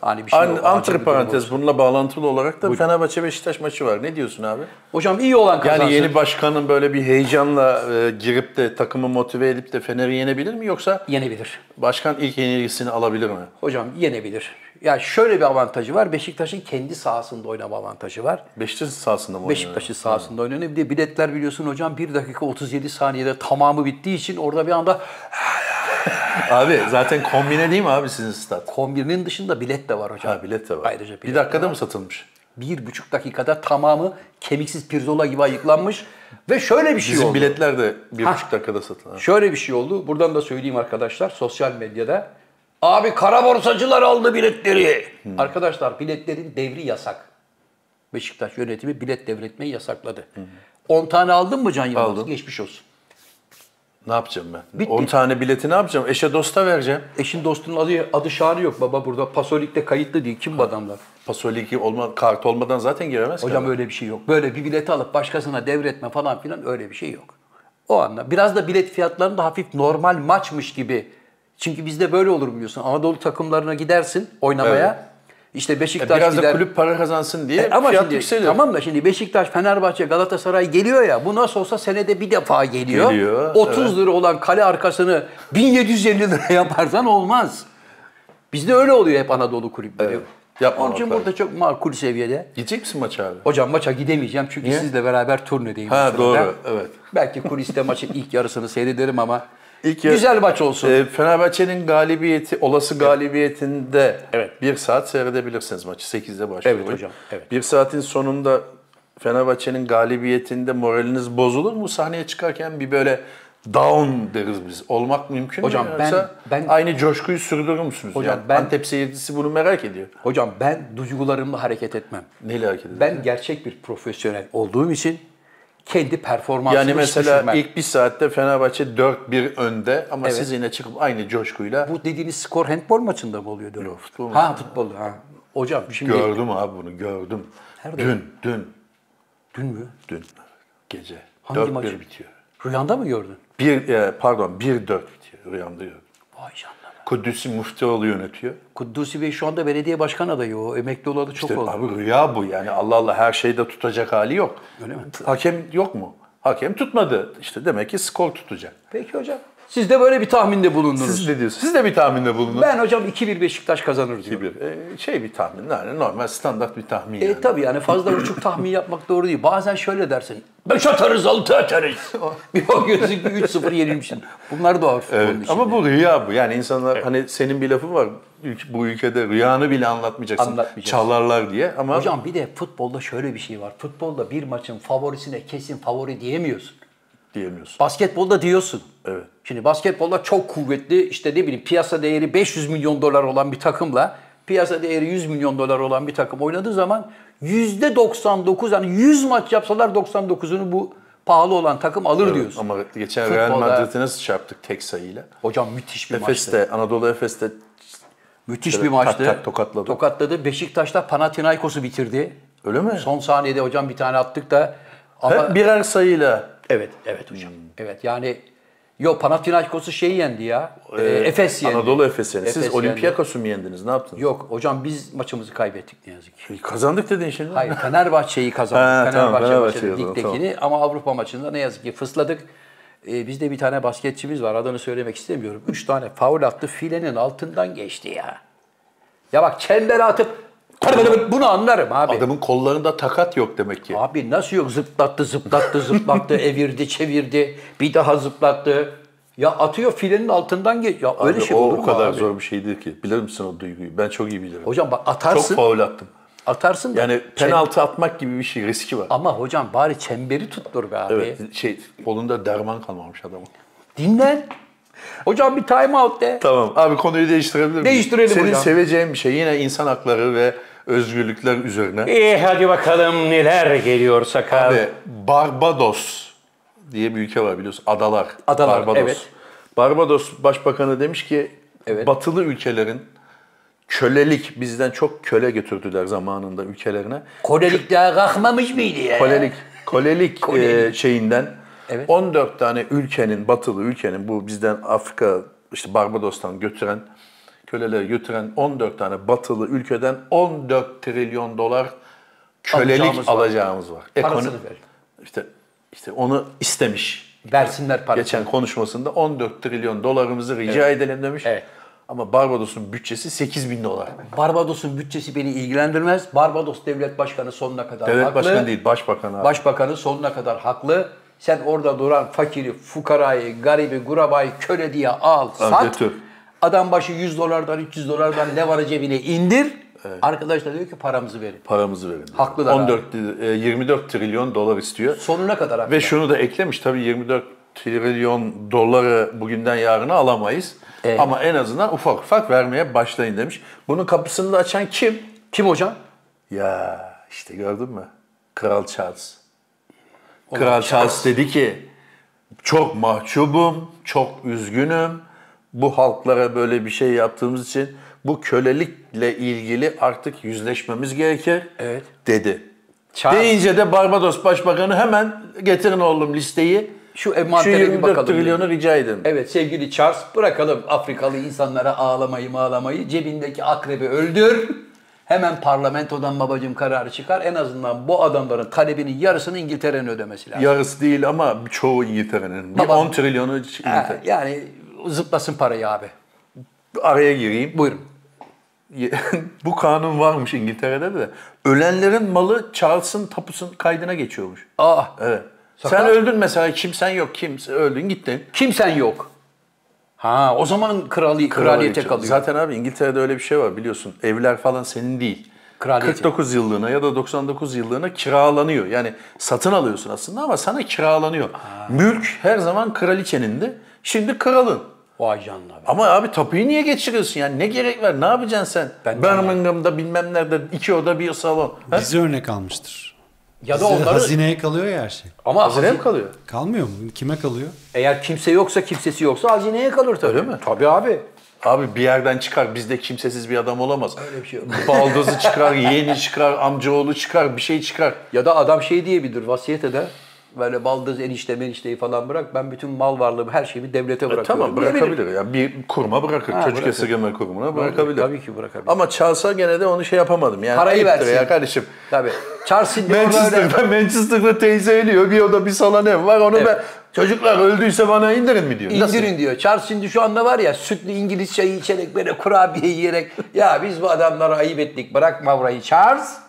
Hani bir şey
An-
yok, acil bir
Antre
durum olursa.
parantez bununla bağlantılı olarak da Fenerbahçe Beşiktaş maçı var. Ne diyorsun abi?
Hocam iyi olan kazansın.
Yani yeni başkanın böyle bir heyecanla e, girip de takımı motive edip de Fener'i yenebilir mi yoksa
yenebilir.
başkan ilk yenilgisini alabilir mi?
Hocam yenebilir. Yani şöyle bir avantajı var. Beşiktaş'ın kendi sahasında oynama avantajı var.
Beşiktaş sahasında mı oynuyor?
Beşiktaş'ın sahasında oynanıyor. Bir de biletler biliyorsun hocam 1 dakika 37 saniyede tamamı bittiği için orada bir anda
Abi zaten kombine değil mi abi sizin stat?
kombinin dışında bilet de var hocam.
Ha bilet de var.
Ayrıca bilet
bir dakikada mı satılmış?
Bir buçuk dakikada tamamı kemiksiz pirzola gibi ayıklanmış. Ve şöyle bir şey
Bizim
oldu.
biletler de bir
Ha.
buçuk dakikada satılıyor.
Şöyle bir şey oldu. Buradan da söyleyeyim arkadaşlar sosyal medyada. Abi kara borsacılar aldı biletleri. Arkadaşlar biletlerin devri yasak. Beşiktaş yönetimi bilet devretmeyi yasakladı. 10 tane aldın mı Can Yılmaz?
Aldım.
Geçmiş olsun.
Ne yapacağım ben?
Bitti.
10 tane bileti ne yapacağım? Eşe dosta vereceğim.
Eşin dostunun adı, adı şanı yok baba burada. Pasolik'te kayıtlı değil. Kim bu adamlar?
Pasoliki olma, kart olmadan zaten giremez ki E,
Hocam
adam.
öyle bir şey yok. Böyle bir bileti alıp başkasına devretme falan filan öyle bir şey yok. O anda biraz da bilet fiyatlarını da hafif normal maçmış gibi. Çünkü bizde böyle olur biliyorsun. Anadolu takımlarına gidersin oynamaya. İşte Beşiktaş
E, Biraz
gider.
da kulüp para kazansın diye
E, ama
fiyat
şimdi,
yükseliyor.
Tamam da şimdi Beşiktaş, Fenerbahçe, Galatasaray geliyor ya. Bu nasıl olsa senede bir defa geliyor.
Geliyor,
30 lira olan kale arkasını 1750 lira yaparsan olmaz. Bizde öyle oluyor hep Anadolu kulüpleri.
Evet, yapmamak
Onun için
lazım.
burada çok makul seviyede.
Gidecek misin maça abi?
Hocam maça gidemeyeceğim çünkü sizle beraber turnedeyim.
Ha,
bu sırada.
doğru, evet.
Belki
[laughs]
kuliste maçın ilk yarısını seyrederim ama
İlk yarı-
güzel maç olsun.
Ee, Fenerbahçe'nin galibiyeti, olası galibiyetinde bir saat seyredebilirsiniz maçı. 8'de başlıyor.
Evet
oyun.
hocam, evet.
Bir saatin sonunda Fenerbahçe'nin galibiyetinde moraliniz bozulur mu? Sahneye çıkarken bir böyle down deriz biz. Olmak mümkün
Hocam
mü?
ben-
Yoksa
ben-
aynı coşkuyu sürdürür müsünüz?
Hocam
yani
ben-
Antep seyircisi bunu merak ediyor.
Hocam ben duygularımla hareket etmem.
Neyle hareket ediyor?
Ben gerçek bir profesyonel olduğum için kendi performansımı
yani mesela
düşürmem.
ilk bir saatte Fenerbahçe 4-1 önde ama
Evet.
siz yine çıkıp aynı coşkuyla
Bu dediğiniz skor handbol maçında mı oluyordu?
Yok, futbol
Ha futbol. Ha. Hocam şimdi
gördüm abi bunu gördüm.
Nerede?
Dün, dün,
dün mü?
dün gece
Hangi
4-1
maç?
bitiyor.
Rüyanda mı gördün?
Bir, e, pardon 1-4 bitiyor rüyamda gördüm.
Vay canına.
Kudüs'ü Müftüoğlu yönetiyor.
Kuddusi Bey şu anda belediye başkan adayı o. Emekli olalı çok
İşte
oldu.
abi rüya bu yani Allah Allah her şeyde tutacak hali yok.
Öyle mi?
Hakem yok mu? Hakem tutmadı. İşte demek ki skor tutacak.
Peki hocam. Siz de böyle bir tahminde bulundunuz.
Siz ne diyorsunuz? Siz de bir tahminde bulunun.
Ben hocam 2-1 Beşiktaş kazanır diyorum.
Bir, e, şey bir tahmin yani normal standart bir tahmin yani.
E tabii yani fazla uçuk tahmin yapmak doğru değil. Bazen şöyle dersin. 5 atarız, 6
[laughs]
atarız. bir bakıyorsun ki 3-0 yenilmişsin. Bunlar doğru
Evet,
futbolun içinde.
ama bu rüya bu. Yani insanlar hani senin bir lafın var. Ülk- Bu ülkede rüyanı bile anlatmayacaksın.
Anlatmayacaksın.
Çalarlar diye ama
Hocam bir de futbolda şöyle bir şey var. Futbolda bir maçın favorisine kesin favori diyemiyorsun.
diyemiyorsun.
Basketbolda diyorsun. Evet. Şimdi basketbolda çok kuvvetli işte ne bileyim piyasa değeri 500 milyon dolar olan bir takımla piyasa değeri 100 milyon dolar olan bir takım oynadığı zaman %99 yani 100 maç yapsalar 99'unu bu pahalı olan takım alır diyorsun.
Ama geçen
Futbolda-
Real Madrid'i nasıl çarptık tek sayıyla?
Hocam müthiş bir maçtı.
Efes'te, Anadolu Efes'te
Müthiş
Evet,
bir maçtı.
tak tak tokatladı.
Tokatladı. Beşiktaş'ta Panathinaikos'u bitirdi.
öyle mi?
Son saniyede hocam bir tane attık da ama
Hep birer sayıyla
evet evet hocam. Evet yani yok Panathinaikos'u şey yendi ya. e, Efes yendi.
Ee, Anadolu Efes'e.
Efes
Siz Olympiakos'u mu yendiniz? Ne yaptınız? E,
Yok hocam biz maçımızı kaybettik ne yazık ki.
Kazandık şey dedin şimdi. [laughs]
Hayır Fenerbahçe'yi kazandık.
Ha, tamam,
Fenerbahçe
Fenerbahçe'yi
maçı
kazandı,
ligdekini ama Avrupa maçında ne yazık ki fısladık. Ee, bizde bir tane basketçimiz var adını söylemek istemiyorum. Üç tane faul attı filenin altından geçti ya. Ya bak çembere atıp bunu anlarım abi.
Adamın kollarında takat yok demek ki.
Abi nasıl yok zıplattı zıplattı
[laughs]
zıplattı evirdi çevirdi bir daha zıplattı. Ya atıyor filenin altından geç. Ya öyle
Abi,
şey
o,
olur
o
mu
kadar
abi?
zor bir şeydir ki. Bilir misin o duyguyu? Ben çok iyi bilirim.
Hocam bak
çok
atarsın
faul attım.
atarsın da.
Yani
çem-
penaltı atmak gibi bir şey riski var.
Ama hocam bari çemberi tuttur be abi.
Evet, şey kolunda derman kalmamış adamın.
Dinlen. Hocam bir time out de.
Tamam. Abi konuyu değiştirebilir miyim?
Değiştirelim
Senin
hocam.
seveceğin bir şey yine insan hakları ve özgürlükler üzerine.
İyi hadi bakalım neler geliyor sakal.
Ve Barbados diye bir ülke var biliyorsun. Adalar.
Adalar,
Barbados.
evet.
Barbados Başbakanı demiş ki
Evet.
batılı ülkelerin kölelik bizden çok köle götürdüler zamanında ülkelerine.
Kolelik daha kalkmamış mıydı ya?
Kolelik kolelik, e, şeyinden
Evet.
14 tane ülkenin batılı ülkenin bu bizden Afrika işte Barbados'tan götüren köleleri götüren 14 tane batılı ülkeden 14 trilyon dolar kölelik
Alacağımız
alacağımız
var.
var.
Parasını
Ekonomi-
ver.
İşte işte onu istemiş.
Versinler parasını.
Geçen konuşmasında 14 trilyon dolarımızı rica edelim demiş.
Evet.
Ama Barbados'un bütçesi 8 bin dolar.
Barbados'un bütçesi beni ilgilendirmez. Barbados Devlet Başkanı sonuna kadar
Devlet
haklı.
başkanı değil, başbakan abi.
Başbakanı sonuna kadar haklı. Sen orada duran fakiri, fukarayı, garibi, gurabayı köle diye al, sat.
götür.
Adam başı 100 dolardan, 300 dolardan ne var cebine indir. Arkadaş da diyor ki paramızı verin.
Paramızı verin.
Haklılar
14, e, 24 trilyon dolar istiyor.
Sonuna kadar haklı.
Ve şunu da eklemiş tabii 24 trilyon doları bugünden yarına alamayız.
Evet.
Ama en azından ufak ufak vermeye başlayın demiş. Bunun kapısını da açan kim?
Kim hocam?
Ya işte gördün mü? Kral Charles. Kral Charles dedi ki çok mahcubum, çok üzgünüm. Bu halklara böyle bir şey yaptığımız için bu kölelikle ilgili artık yüzleşmemiz gerekir
Evet.
dedi.
Charles.
Deyince de Barbados Başbakanı hemen getirin oğlum listeyi.
Şu
Şu
envantere bir
24
bakalım. dedi.
trilyonu rica edin.
Evet sevgili Charles bırakalım Afrikalı insanlara ağlamayı mağlamayı. Cebindeki akrebi öldür. Hemen parlamentodan babacım kararı çıkar. En azından bu adamların talebinin yarısını İngiltere'nin ödemesi lazım.
Yarısı değil ama çoğu İngiltere'nin. Bir
Baba-
10 trilyonu
Ha,
İngiltere.
yani zıplasın parayı abi.
Araya gireyim.
Buyurun.
[laughs] bu kanun varmış İngiltere'de de. Ölenlerin malı Charles'ın tapusun kaydına geçiyormuş.
Aa,
Evet.
Sakın.
Sen öldün mesela kimsen yok kimse öldün gittin.
kimsen yok. Ha o zaman krali, kraliyete
Kraliyet-
kalıyor.
Zaten abi İngiltere'de öyle bir şey var biliyorsun. Evler falan senin değil.
Kraliyet.
49 yıllığına ya da 99 yıllığına kiralanıyor. Yani satın alıyorsun aslında ama sana kiralanıyor. Mülk her zaman kraliçenin de. Şimdi kralın.
Vay canına be.
Ama abi tapuyu niye geçiriyorsun yani? Ne gerek var? Ne yapacaksın sen?
Ben-
Birmingham'da bilmem nerede iki oda bir salon. Ha?
Bizi örnek almıştır.
Ya da
Bize
onları
Hazineye kalıyor ya her şey.
ama
Hazine
hazine-
mi kalıyor?
Kalmıyor mu? Kime
[laughs]
kalıyor?
eğer kimse yoksa kimsesi yoksa hazineye kalır tabii. Öyle mi? Tabii abi.
Abi bir yerden çıkar bizde kimsesiz bir adam olamaz.
Öyle bir şey yok.
[laughs] Baldızı çıkar, yeğeni çıkar, amcaoğlu çıkar, bir şey çıkar.
Ya da adam şey diyebilir, vasiyet eder. Böyle baldız enişte menişteyi falan bırak. Ben bütün mal varlığımı, her şeyimi devlete bırakıyorum.
E, Tamam
diyebilir.
bırakabilir. Yani bir kuruma bırakır. Çocuk
bırakır.
esirgeme kurumuna bırakabilir.
Tabii ki bırakabilir.
Ama çalsa gene de onu şey yapamadım. Yani
Parayı
ayıptır
versin.
ya kardeşim.
Tabii. Charles'ın öyle.
Manchester'da, Manchester'da teyze ölüyor. Bir oda bir salon ev var. Onu
Evet.
ben çocuklar öldüyse bana indirin mi diyor. [laughs] Nasıl?
İndirin diyor. Charles şimdi şu anda var ya sütlü İngiliz çayı içerek böyle kurabiye yiyerek ya biz bu adamlara ayıp ettik bırak mavrayı Charles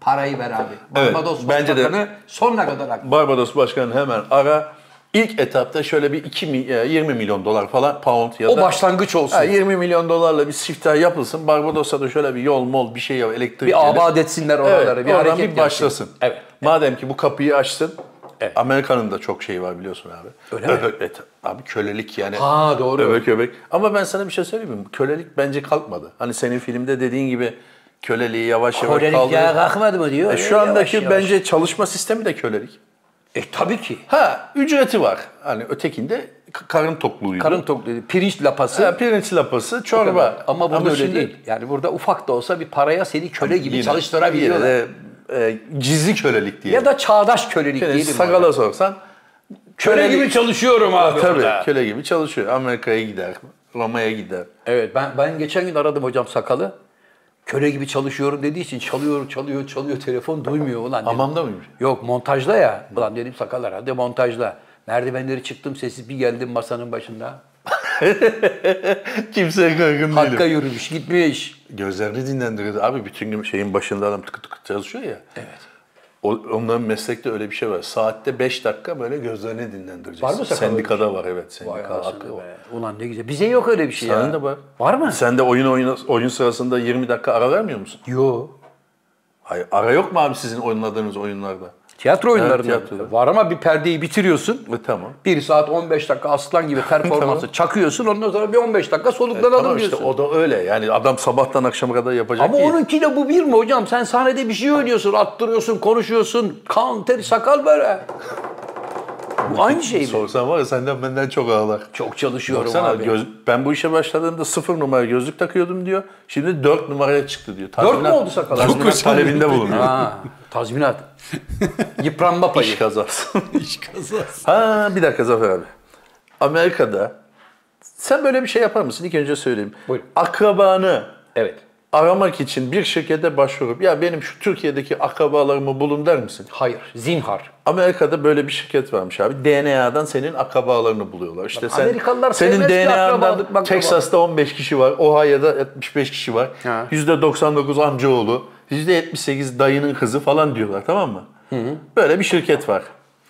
parayı ver abi.
Evet,
Barbados
bence de-
Başbakanı sonuna kadar haklı.
Barbados Başkanı hemen ara. İlk etapta şöyle bir 2 mi- e, 20 milyon dolar falan pound ya da
O başlangıç olsun.
Ha, 20 milyon dolarla bir siftah yapılsın. Barbados'a da şöyle bir yol mol bir şey yap. Elektrik
bir
gelir.
abad etsinler
Evet,
oraları. bir
oradan
hareket
bir
yapsın.
başlasın.
Evet.
Madem ki bu kapıyı açtın.
Evet.
Amerika'nın da çok şeyi var biliyorsun abi.
Öyle mi?
Evet, Evet. Abi kölelik yani.
Ha, doğru.
Öbek öbek. Ama ben sana bir şey söyleyeyim mi? Kölelik bence kalkmadı. Hani senin filmde dediğin gibi köleliği yavaş yavaş
Kolelik
kaldırıyor.
ya kalkmadı mı diyor.
E, şu
Yavaş
andaki
yavaş.
bence çalışma sistemi de kölelik.
E tabii ki.
Ha ücreti var. Hani ötekinde k- karın tokluğuydu.
Karın tokluğu, pirinç lapası.
Ha, pirinç lapası,
Tabii.
çorba.
Ama burada öyle
şimdi
değil. Yani burada ufak da olsa bir paraya seni köle gibi
yine-
çalıştırabiliyorlar.
Yine de e, gizli kölelik diyelim.
ya da çağdaş kölelik
Yani
diyelim.
sakala sorsan
Köle gibi çalışıyorum abi
Tabii
burada.
köle gibi çalışıyor. Amerika'ya gider, Roma'ya gider.
Evet ben ben geçen gün aradım hocam sakalı. Köle gibi çalışıyorum dediği için çalıyor çalıyor çalıyor telefon duymuyor ulan. dedim.
Hamamda mıymış?
Yok montajda ya. Ulan dedim sakal herhalde montajda. Merdivenleri çıktım sessiz bir geldim masanın başında.
[laughs] Kimseye kaygın
Hakka
değilim.
yürümüş gitmiş.
Gözlerini dinlendiriyordu. Abi bütün gün şeyin başında adam tıkı tıkı çalışıyor ya. Evet. onların meslekte öyle bir şey var. Saatte 5 dakika böyle gözlerini dinlendireceksin.
Var mı sakal şey?
Sendikada var evet.
Vay
Sendika
anasını
hakkı var.
be. Ulan ne güzel. Bize yok öyle bir şey ya.
Sende var.
Var mı?
Sen de oyun, oyun, oyun sırasında 20 dakika ara vermiyor musun?
Yok.
Hayır, ara yok mu abi sizin oynadığınız oyunlarda?
Tiyatro oyunlarında
tiyatroda.
var ama bir perdeyi bitiriyorsun.
E, tamam.
1 saat 15 dakika aslan
[laughs]
gibi performansı çakıyorsun. Ondan sonra bir 15 dakika soluklanalım
E, Tamam işte
diyorsun.
o da öyle. Yani adam sabahtan akşama kadar yapacak
Ama
değil.
onunkiyle bu bir mi hocam? Sen sahnede bir şey oynuyorsun, attırıyorsun, konuşuyorsun. Kan, ter, sakal böyle.
[laughs]
Bu aynı şey mi?
Sorsan var ya senden benden çok ağlar.
Çok çalışıyorum
Baksana
abi.
göz- ben bu işe başladığımda sıfır numara gözlük takıyordum diyor. Şimdi dört numaraya çıktı diyor.
mü
Tazminat-
oldu sakalı?
Çok
Tazminat
hoşuma
talebinde
gitti.
bulunuyor.
Ha,
[laughs]
tazminat. Yıpranma payı.
İş kazası. [laughs]
İş kazası.
ha bir dakika Zafer abi. Amerika'da sen böyle bir şey yapar mısın? İlk önce söyleyeyim.
Buyurun.
Akrabanı
Evet.
aramak için bir şirkete başvurup ya benim şu Türkiye'deki akrabalarımı bulun der misin?
Hayır. Zinhar.
Amerika'da böyle bir şirket varmış abi. DNA'dan senin akrabalarını buluyorlar. İşte sen,
Amerikalılar
senin
sevmez ki
DNA'dan
akrabalık, makrabalık.
Texas'ta 15 kişi var, Ohio'da 75 kişi var.
Ha.
%99 amcaoğlu, %78 dayının kızı falan diyorlar tamam mı? Böyle bir şirket var.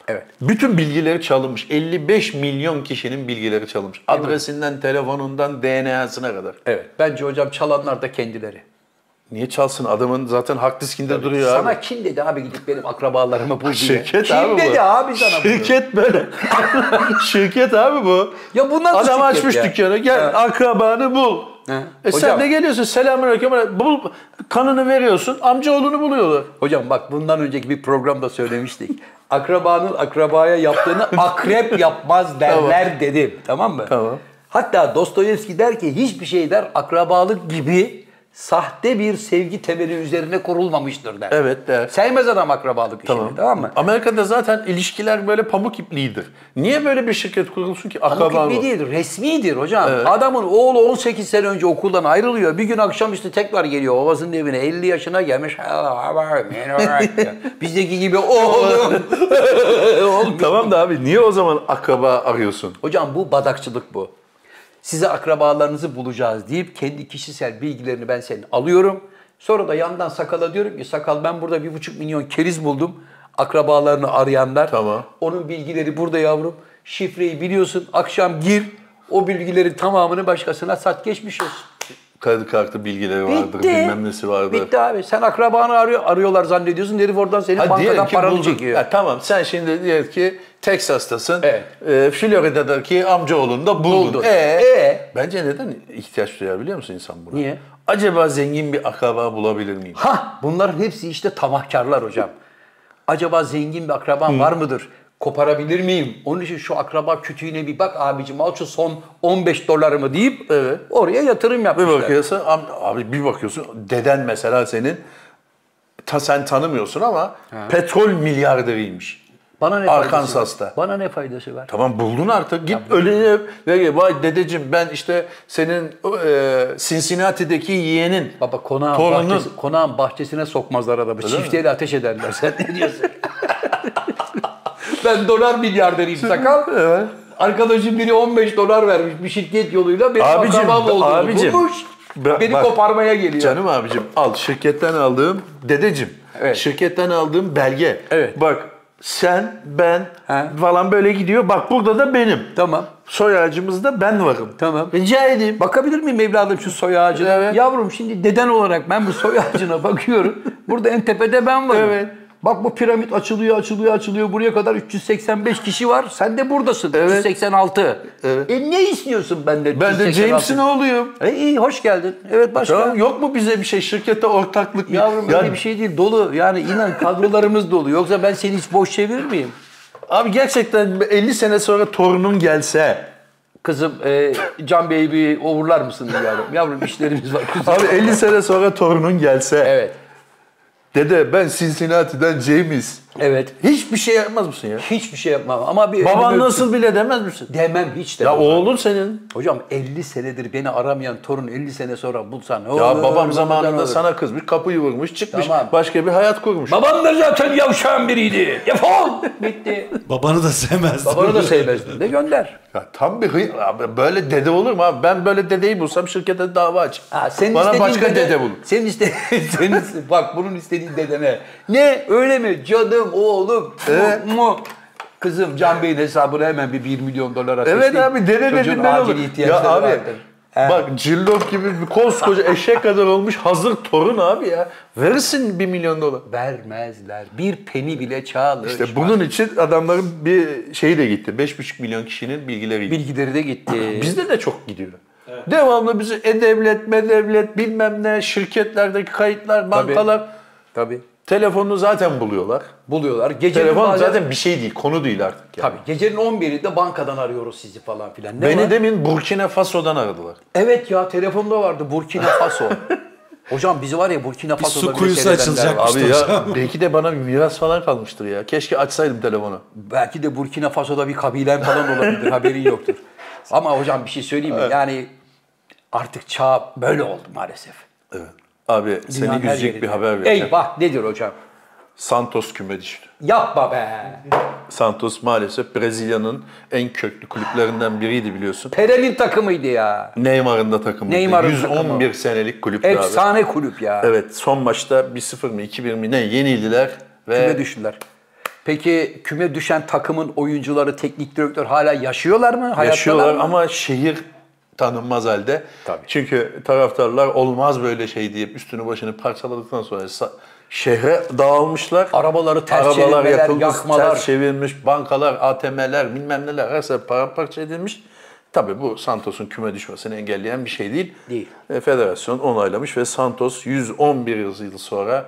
Evet.
Bütün bilgileri çalınmış. 55 milyon kişinin bilgileri çalınmış. Adresinden, telefonundan, DNA'sına kadar.
Evet. Bence hocam çalanlar da kendileri.
Niye çalsın? Adamın zaten hard diskinde duruyor
sana
abi.
kim dedi abi gidip benim akrabalarımı bul diye?
Şirket
kim
abi bu.
dedi abi sana bunu?
Şirket böyle. [laughs] şirket abi bu.
Ya bu nasıl
Adam
şirket
açmış
ya?
dükkanı. Gel
Evet.
akrabanı bul. E sen
Hocam-
de geliyorsun selamünaleyküm. Bul kanını veriyorsun. Amcaoğlunu buluyorlar.
Hocam bak bundan önceki bir programda söylemiştik. [laughs] Akrabanın akrabaya yaptığını akrep yapmaz derler dedim. Tamam mı?
Tamam.
Hatta Dostoyevski der ki hiçbir şey der akrabalık gibi sahte bir sevgi temeli üzerine kurulmamıştır der.
Evet der.
Sevmez adam akrabalık işini tamam, mı?
Amerika'da zaten ilişkiler böyle pamuk ipliğidir. Niye böyle bir şirket kurulsun ki akraban
Pamuk ipliği
ol?
değil, resmidir hocam. Adamın oğlu 18 sene önce okuldan ayrılıyor. Bir gün akşam işte tekrar geliyor babasının evine. 50 yaşına gelmiş. [laughs] Bizdeki gibi oğlum.
Tamam da abi niye o zaman akraba arıyorsun?
Hocam bu badakçılık bu. Size akrabalarınızı bulacağız deyip kendi kişisel bilgilerini ben senin alıyorum. Sonra da yandan sakala diyorum ki sakal ben burada bir buçuk milyon keriz buldum. Akrabalarını arayanlar.
Tamam.
Onun bilgileri burada yavrum. Şifreyi biliyorsun. Akşam gir. O bilgilerin tamamını başkasına sat geçmiş olsun.
Kredi kartı bilgileri vardır, bilmem nesi vardır.
Bitti abi. Sen akrabanı arıyor, arıyorlar zannediyorsun. Herif oradan senin
Ha, diyelim
bankadan
ki
paranı
buldun.
çekiyor.
Ha, tamam sen şimdi diyelim ki Texas'tasın.
Evet.
E, Florida'daki amcaoğlunu da buldun.
Buldun.
E,
E?
Bence neden ihtiyaç duyar biliyor musun insan buna?
Niye?
Acaba zengin bir akraba bulabilir miyim?
Ha bunların hepsi işte tamahkarlar hocam. Acaba zengin bir akraban var mıdır? Koparabilir miyim? Onun için şu akraba kütüğüne bir bak abicim al şu son 15 dolarımı deyip oraya yatırım
Bir
yapmışlar.
bakıyorsun am- abi bir bakıyorsun deden mesela senin ta sen tanımıyorsun ama petrol milyarderiymiş.
Bana ne faydası
Arkansas'ta.
var? Bana ne faydası var?
Tamam buldun artık. Git ölene öyle de ki, vay dedeciğim ben işte senin e, Cincinnati'deki yeğenin
Baba konağın,
Torunun.
bahçesi- konağın bahçesine sokmazlar adamı. Çifteyle ateş ederler. Sen ne
[laughs]
diyorsun? ben dolar milyarderiyim sakal. Arkadaşım biri 15 dolar vermiş bir şirket yoluyla benim
Abicim,
akrabam olduğunu
abicim.
bulmuş.
Ba-
Beni
bak.
koparmaya geliyor.
Canım abicim al şirketten aldığım dedecim.
Evet.
Şirketten aldığım belge.
Evet.
Bak sen, ben
Ha.
falan böyle gidiyor. Bak burada da benim.
Tamam.
Soy ağacımızda ben varım. E,
Tamam.
Rica edeyim.
Bakabilir miyim evladım şu soy ağacına? Yavrum şimdi deden olarak ben bu soy [laughs] ağacına bakıyorum. Burada en tepede ben varım.
Evet.
Bak bu piramit açılıyor, açılıyor, açılıyor. Buraya kadar 385 kişi var. Sen de buradasın. 386.
Evet.
E ne istiyorsun benden?
Ben de James'in oğluyum.
E iyi, hoş geldin. Evet başka.
Tamam, yok mu bize bir şey? Şirkette ortaklık bir...
Yavrum
Yani-
öyle bir şey değil. Dolu. Yani inan kadrolarımız dolu. Yoksa ben seni hiç boş çevirir miyim?
Abi gerçekten 50 sene sonra torunun gelse...
Kızım e, Can Bey'i bir uğurlar mısın yavrum? Yavrum işlerimiz var. Kızım.
Abi 50 sene sonra torunun gelse...
Evet.
Dede ben Cincinnati'den James.
Evet.
Hiçbir şey yapmaz mısın ya?
Hiçbir şey yapmam ama bir...
Baban
elimi
nasıl bile demez misin?
Demem hiç demem.
Ya oğlun senin.
Hocam 50 senedir beni aramayan torun 50 sene sonra bulsan ne
Ya
olur,
babam
ne
zamanında
olur.
sana kızmış, kapıyı vurmuş, çıkmış,
Tamam.
başka bir hayat kurmuş.
Babam da zaten yavşan biriydi.
[laughs]
Defol! Bitti.
Babanı da sevmezdim.
Babanı da
[laughs]
sevmezdin de gönder.
Ya tam bir hıy- abi böyle dede olur mu abi? Ben böyle dedeyi bulsam şirkete dava aç.
Ha, senin
Bana
istediğin
başka dede, bul.
Senin iste [laughs] senin iste- bak bunun istediği dedene. Ne öyle mi? Cadım, oğlum,
Ee?
mu, mu. Kızım Can Bey'in hesabına hemen bir 1 milyon dolar ateşleyin.
Evet abi dede
Çocuğun
dediğinden
acil
olur. Ya
ihtiyaçları
abi
vardır.
bak cillop gibi bir koskoca eşek kadar olmuş hazır torun abi ya. Verirsin bir milyon dolar.
Vermezler. Bir peni bile çağlar.
İşte bunun için adamların bir şeyi de gitti. 5,5 milyon kişinin bilgileri gitti.
bilgileri de gitti.
Bizde de çok gidiyor. Devamlı bizi e-devlet, me-devlet, bilmem ne, şirketlerdeki kayıtlar, bankalar.
Tabii.
Telefonunu zaten buluyorlar.
Buluyorlar. Gecenin
Telefon
bazen-
zaten bir şey değil, konu değil artık. Yani.
Tabii gecenin 11'inde bankadan arıyoruz sizi falan filan. Ne
Beni
var?
demin Burkina Faso'dan aradılar.
Evet ya telefonda vardı Burkina
[laughs]
Faso. Hocam bizi var ya Burkina Faso'da
su
bile
kuyusu
seyredenler
açılacak.
var.
Abi
Açmıştı
ya
hocam.
belki de bana bir miras falan kalmıştır ya. Keşke açsaydım telefonu.
Belki de Burkina Faso'da bir kabilen falan olabilir haberin yoktur. Ama hocam bir şey söyleyeyim mi? Yani artık çağ böyle oldu maalesef.
Evet. Abi
Dünyanın
seni
her
üzecek
yerinde.
bir haber vereceğim.
Eyvah nedir hocam?
Santos küme düştü.
Yapma be.
Santos maalesef Brezilya'nın en köklü kulüplerinden biriydi biliyorsun.
Pere'nin takımıydı ya.
Neymar'ın da takımıydı.
Neymar'ın
111
takımı.
senelik kulüptü abi.
Efsane kulüp ya.
Evet son maçta 1-0 mı 2-1 mi ne yenildiler ve
Küme düştüler. Peki küme düşen takımın oyuncuları, teknik direktör hala yaşıyorlar mı? Hayattalar
yaşıyorlar
mı?
ama şehir tanınmaz halde.
Tabii.
Çünkü taraftarlar olmaz böyle şey deyip üstünü başını parçaladıktan sonra sa- şehre dağılmışlar.
Arabaları ters
Arabalar
çevirmeler,
yakılmış,
yakmalar.
ters çevirmiş, bankalar, ATM'ler bilmem neler her şey paramparça edilmiş. Tabii bu Santos'un küme düşmesini engelleyen bir şey değil.
Değil.
E, federasyon onaylamış ve Santos 111 yıl sonra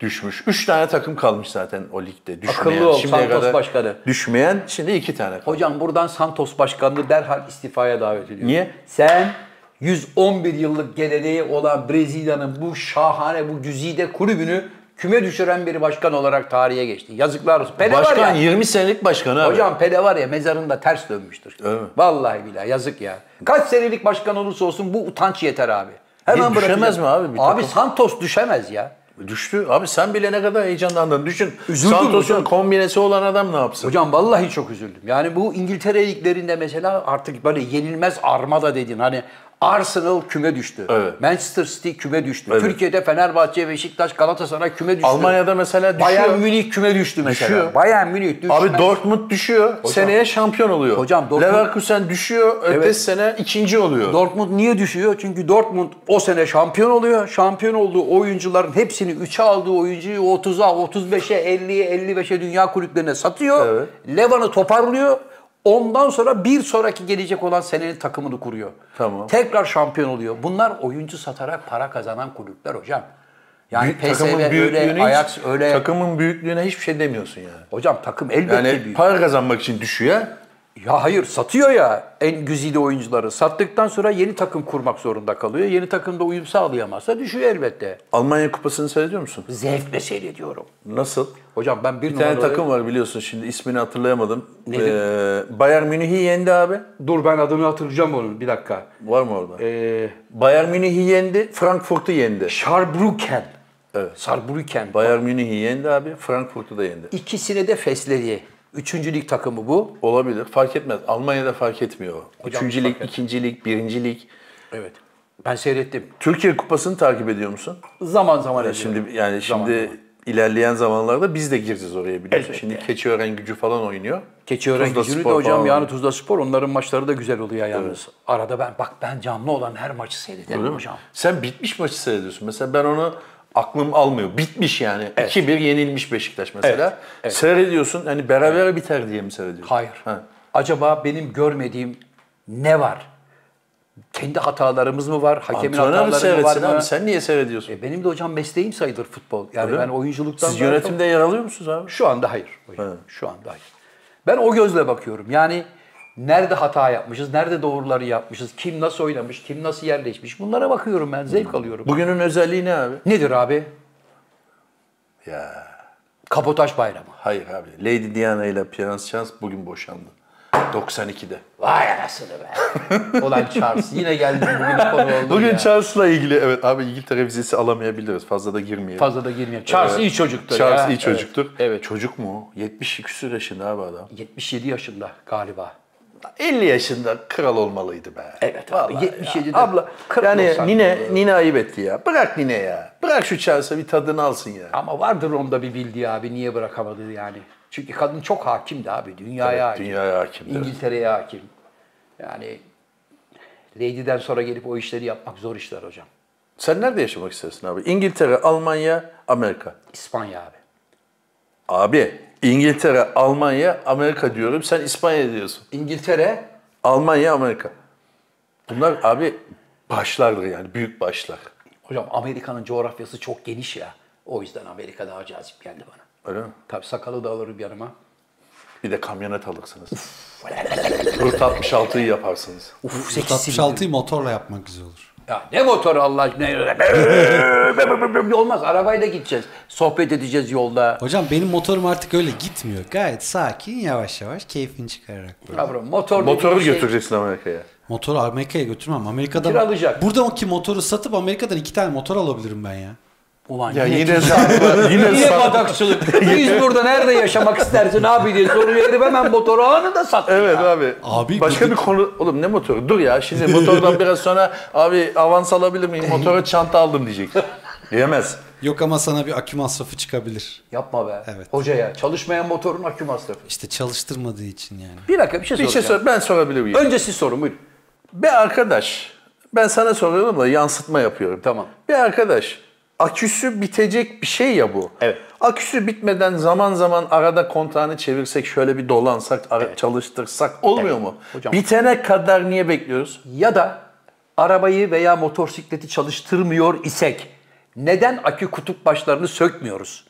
düşmüş. Üç tane takım kalmış zaten o ligde düşmeyen.
Akıllı ol,
Şimdiye
Santos başkanı.
Düşmeyen şimdi iki tane kalmış.
Hocam buradan Santos Başkanı'nı derhal istifaya davet ediyorum.
Niye?
Sen 111 yıllık geleneği olan Brezilya'nın bu şahane, bu güzide kulübünü küme düşüren bir başkan olarak tarihe geçti. Yazıklar olsun. Pele E var
Başkan
ya.
20 senelik başkanı abi.
Hocam Pele var ya mezarında ters dönmüştür.
Öyle mi?
Vallahi billahi yazık ya. Kaç senelik başkan olursa olsun bu utanç yeter abi. Hemen
E, düşemez
bırakacak.
mi abi bir
abi
takım?
Santos düşemez ya.
Düştü. Abi sen bile ne kadar heyecanlandın. Düşün.
Üzüldüm hocam.
Santos'un kombinesi olan adam ne yapsın?
Hocam vallahi çok üzüldüm. Yani bu İngiltere liglerinde mesela artık böyle yenilmez armada dedin. Hani Arsenal küme düştü.
Evet.
Manchester City küme düştü.
Evet.
Türkiye'de Fenerbahçe, Beşiktaş, Galatasaray küme düştü.
Almanya'da mesela düşüyor.
Bayern Münih küme düştü mesela.
Düşüyor.
Bayern Münih düşmez.
Abi Dortmund düşüyor. Seneye şampiyon oluyor.
Hocam Dortmund-
Leverkusen düşüyor. Ötesi sene ikinci oluyor.
Dortmund niye düşüyor? Çünkü Dortmund o sene şampiyon oluyor. Şampiyon olduğu oyuncuların hepsini 3'e aldığı oyuncuyu 30'a, 35'e, 50'ye, 55'e dünya kulüplerine satıyor. Levan'ı toparlıyor. Ondan sonra bir sonraki gelecek olan senenin takımını kuruyor.
Tamam.
Tekrar şampiyon oluyor. Bunlar oyuncu satarak para kazanan kulüpler hocam. Yani
Büyük-
PSV
büyüklüğüne
öyle,
hiç-
Ajax öyle.
Takımın büyüklüğüne hiçbir şey demiyorsun yani.
Hocam takım elbette
Yani
büyük.
para kazanmak için düşüyor.
Ya hayır satıyor ya en güzide oyuncuları. Sattıktan sonra yeni takım kurmak zorunda kalıyor. Yeni takımda uyum sağlayamazsa düşüyor elbette.
Almanya kupasını seyrediyor musun?
Zevkle seyrediyorum.
Nasıl?
Hocam ben bir,
Bir tane
numaralı-
takım var biliyorsun şimdi ismini hatırlayamadım.
Nedir?
Ee, Bayern Münih'i yendi abi.
Dur ben adını hatırlayacağım onun bir dakika.
Var mı orada?
Ee,
Bayern Münih'i yendi, Frankfurt'u yendi.
Schaarbrücken.
Evet.
Schaarbrücken.
Bayern Münih'i yendi abi, Frankfurt'u da yendi.
İkisine de fesleri. Üçüncü lig takımı bu.
Olabilir, fark etmez. Almanya'da fark etmiyor. o. Üçüncü
fark
lig, ikinci lig, birinci lig.
Evet. Ben seyrettim.
Türkiye Kupası'nı takip ediyor musun?
Zaman zaman ediyorum.
Şimdi yani
Zaman
şimdi ilerleyen zamanlarda biz de gireceğiz oraya biliyorsun. Şimdi Keçiören gücü falan oynuyor.
Keçiören
Tuzla
gücünü de
Spor
hocam
falan
yani
oynuyor.
Tuzla Spor onların maçları da güzel oluyor yalnız. Arada ben bak ben canlı olan her maçı seyrederim
Değil mi?
hocam.
Sen bitmiş maçı seyrediyorsun. Mesela ben onu aklım almıyor. Bitmiş yani. 2-1 yenilmiş Beşiktaş mesela. Seyrediyorsun. Hani beraber biter diye mi seyrediyorsun?
Hayır.
Ha.
Acaba benim görmediğim ne var? Kendi hatalarımız mı var? Hakemin
Antrenör mü
hataları mı var
seyretsin
mı?
abi? Sen niye seyrediyorsun?
E, Benim de hocam mesleğim sayılır futbol. Yani
Öyle
ben
mi?
oyunculuktan
Siz
daha
yönetimde yer alıyor musunuz abi?
çok- şu anda hayır. hocam. Şu anda hayır. Ben o gözle bakıyorum. Yani nerede hata yapmışız, nerede doğruları yapmışız, kim nasıl oynamış, kim nasıl yerleşmiş bunlara bakıyorum ben.
Hmm.
Zevk alıyorum.
Bugünün özelliği ne abi?
Nedir abi?
Ya
Kapotaj bayramı.
hayır abi. Lady Diana ile Prens Charles bugün boşandı. 92'de.
Vay anasını be.
[laughs]
Ulan Charles yine geldi bugün konu oldu
Bugün
ya.
Charles'la ilgili evet abi İngiltere vizesi alamayabiliriz. Fazla da girmeyelim.
Fazla da girmeyelim. Charles iyi çocuktur
Charles
ya.
iyi çocuktur.
Evet, evet.
Çocuk mu? 70 küsur yaşında abi adam.
77 yaşında galiba.
50 yaşında kral olmalıydı be.
Evet abi,
Vallahi
77 de
Ya. Abla
kırk
yani
olsan
nine, nine ayıp etti ya. Bırak nine ya. Bırak şu Charles'a bir tadını alsın ya.
Ama vardır onda bir bildiği abi niye bırakamadı yani. Çünkü kadın çok hakimdi abi dünyaya hakim.
dünyaya hakim, evet.
İngiltere'ye hakim. Yani Lady'den sonra gelip o işleri yapmak zor işler hocam.
Sen nerede yaşamak istersin abi? İngiltere, Almanya, Amerika.
İspanya abi.
Abi İngiltere, Almanya, Amerika diyorum. Sen İspanya diyorsun.
İngiltere
Almanya, Amerika. Bunlar abi başlardır yani büyük başlar.
hocam Amerika'nın coğrafyası çok geniş ya. O yüzden Amerika daha cazip geldi bana.
Öyle mi?
Tabii sakalı da alırım yanıma.
Bir de kamyonet alırsınız. Rut 66'yı yaparsınız.
Uf,
Rut 66'yı motorla yapmak güzel olur.
Ya ne motoru Allah aşkına? Olmaz arabayla gideceğiz. Sohbet edeceğiz yolda.
Hocam benim motorum artık öyle gitmiyor. Gayet sakin, yavaş yavaş, keyfini çıkararak böyle.
Yavrum motor
Motoru
dediğin şey-
götüreceksin Amerika'ya.
Motoru Amerika'ya götürmem. Amerika'dan...
Kiralayacak.
Buradaki motoru satıp Amerika'dan iki tane motor alabilirim ben ya.
Ulan
Ya
yine,
yine satma.
[laughs]
Yine
yine
satma. [laughs]
badakçılık. Biz burada nerede yaşamak istersin abi diye soruyu verip hemen motoru anında sattı.
Evet
ya.
abi.
Abi,
Başka
bu-
bir konu... Oğlum ne motoru? Dur ya şimdi motordan biraz sonra abi avans alabilir miyim?
[laughs]
Motora çanta aldım diyecek. Diyemez.
Yok ama sana bir akü masrafı çıkabilir.
Yapma be.
Evet.
Hocaya çalışmayan motorun akü masrafı.
İşte çalıştırmadığı için yani.
Bir dakika bir şey
Bir şey
soracağım.
sor, ben sorabilir miyim?
Önce siz sorun buyurun.
Be arkadaş, ben sana soruyorum da yansıtma yapıyorum.
Tamam.
Bir arkadaş, aküsü bitecek bir şey ya bu.
Evet.
Aküsü bitmeden zaman zaman arada kontağını çevirsek, şöyle bir dolansak, ara- çalıştırsak olmuyor mu?
Hocam-
Bitene kadar niye bekliyoruz?
Ya da arabayı veya motosikleti çalıştırmıyor isek neden akü kutup başlarını sökmüyoruz?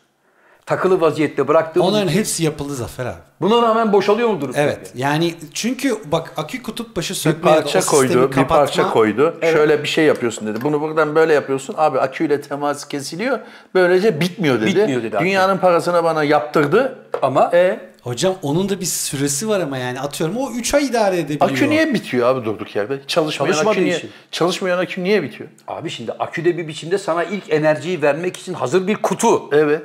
Takılı vaziyette bıraktığımız
Onların hepsi yapıldı Zafer abi.
buna rağmen boşalıyor mudur?
Evet. Yani çünkü bak akü kutup başı
Bir
sökmeye
parça koydu, bir parça koydu. Şöyle bir şey yapıyorsun dedi. Bunu buradan böyle yapıyorsun. Abi aküyle temas kesiliyor. Böylece bitmiyor dedi.
Bitmiyor dedi hakikaten.
Dünyanın parasını bana yaptırdı.
Ama
E
Hocam onun da bir süresi var ama yani atıyorum o 3 ay idare edebiliyor.
Akü niye bitiyor abi durduk yerde? Çalışmayan
Çalışmadığı
akü niye?
için.
Çalışmayan akü niye bitiyor?
abi şimdi aküde bir biçimde sana ilk enerjiyi vermek için hazır bir kutu
Evet.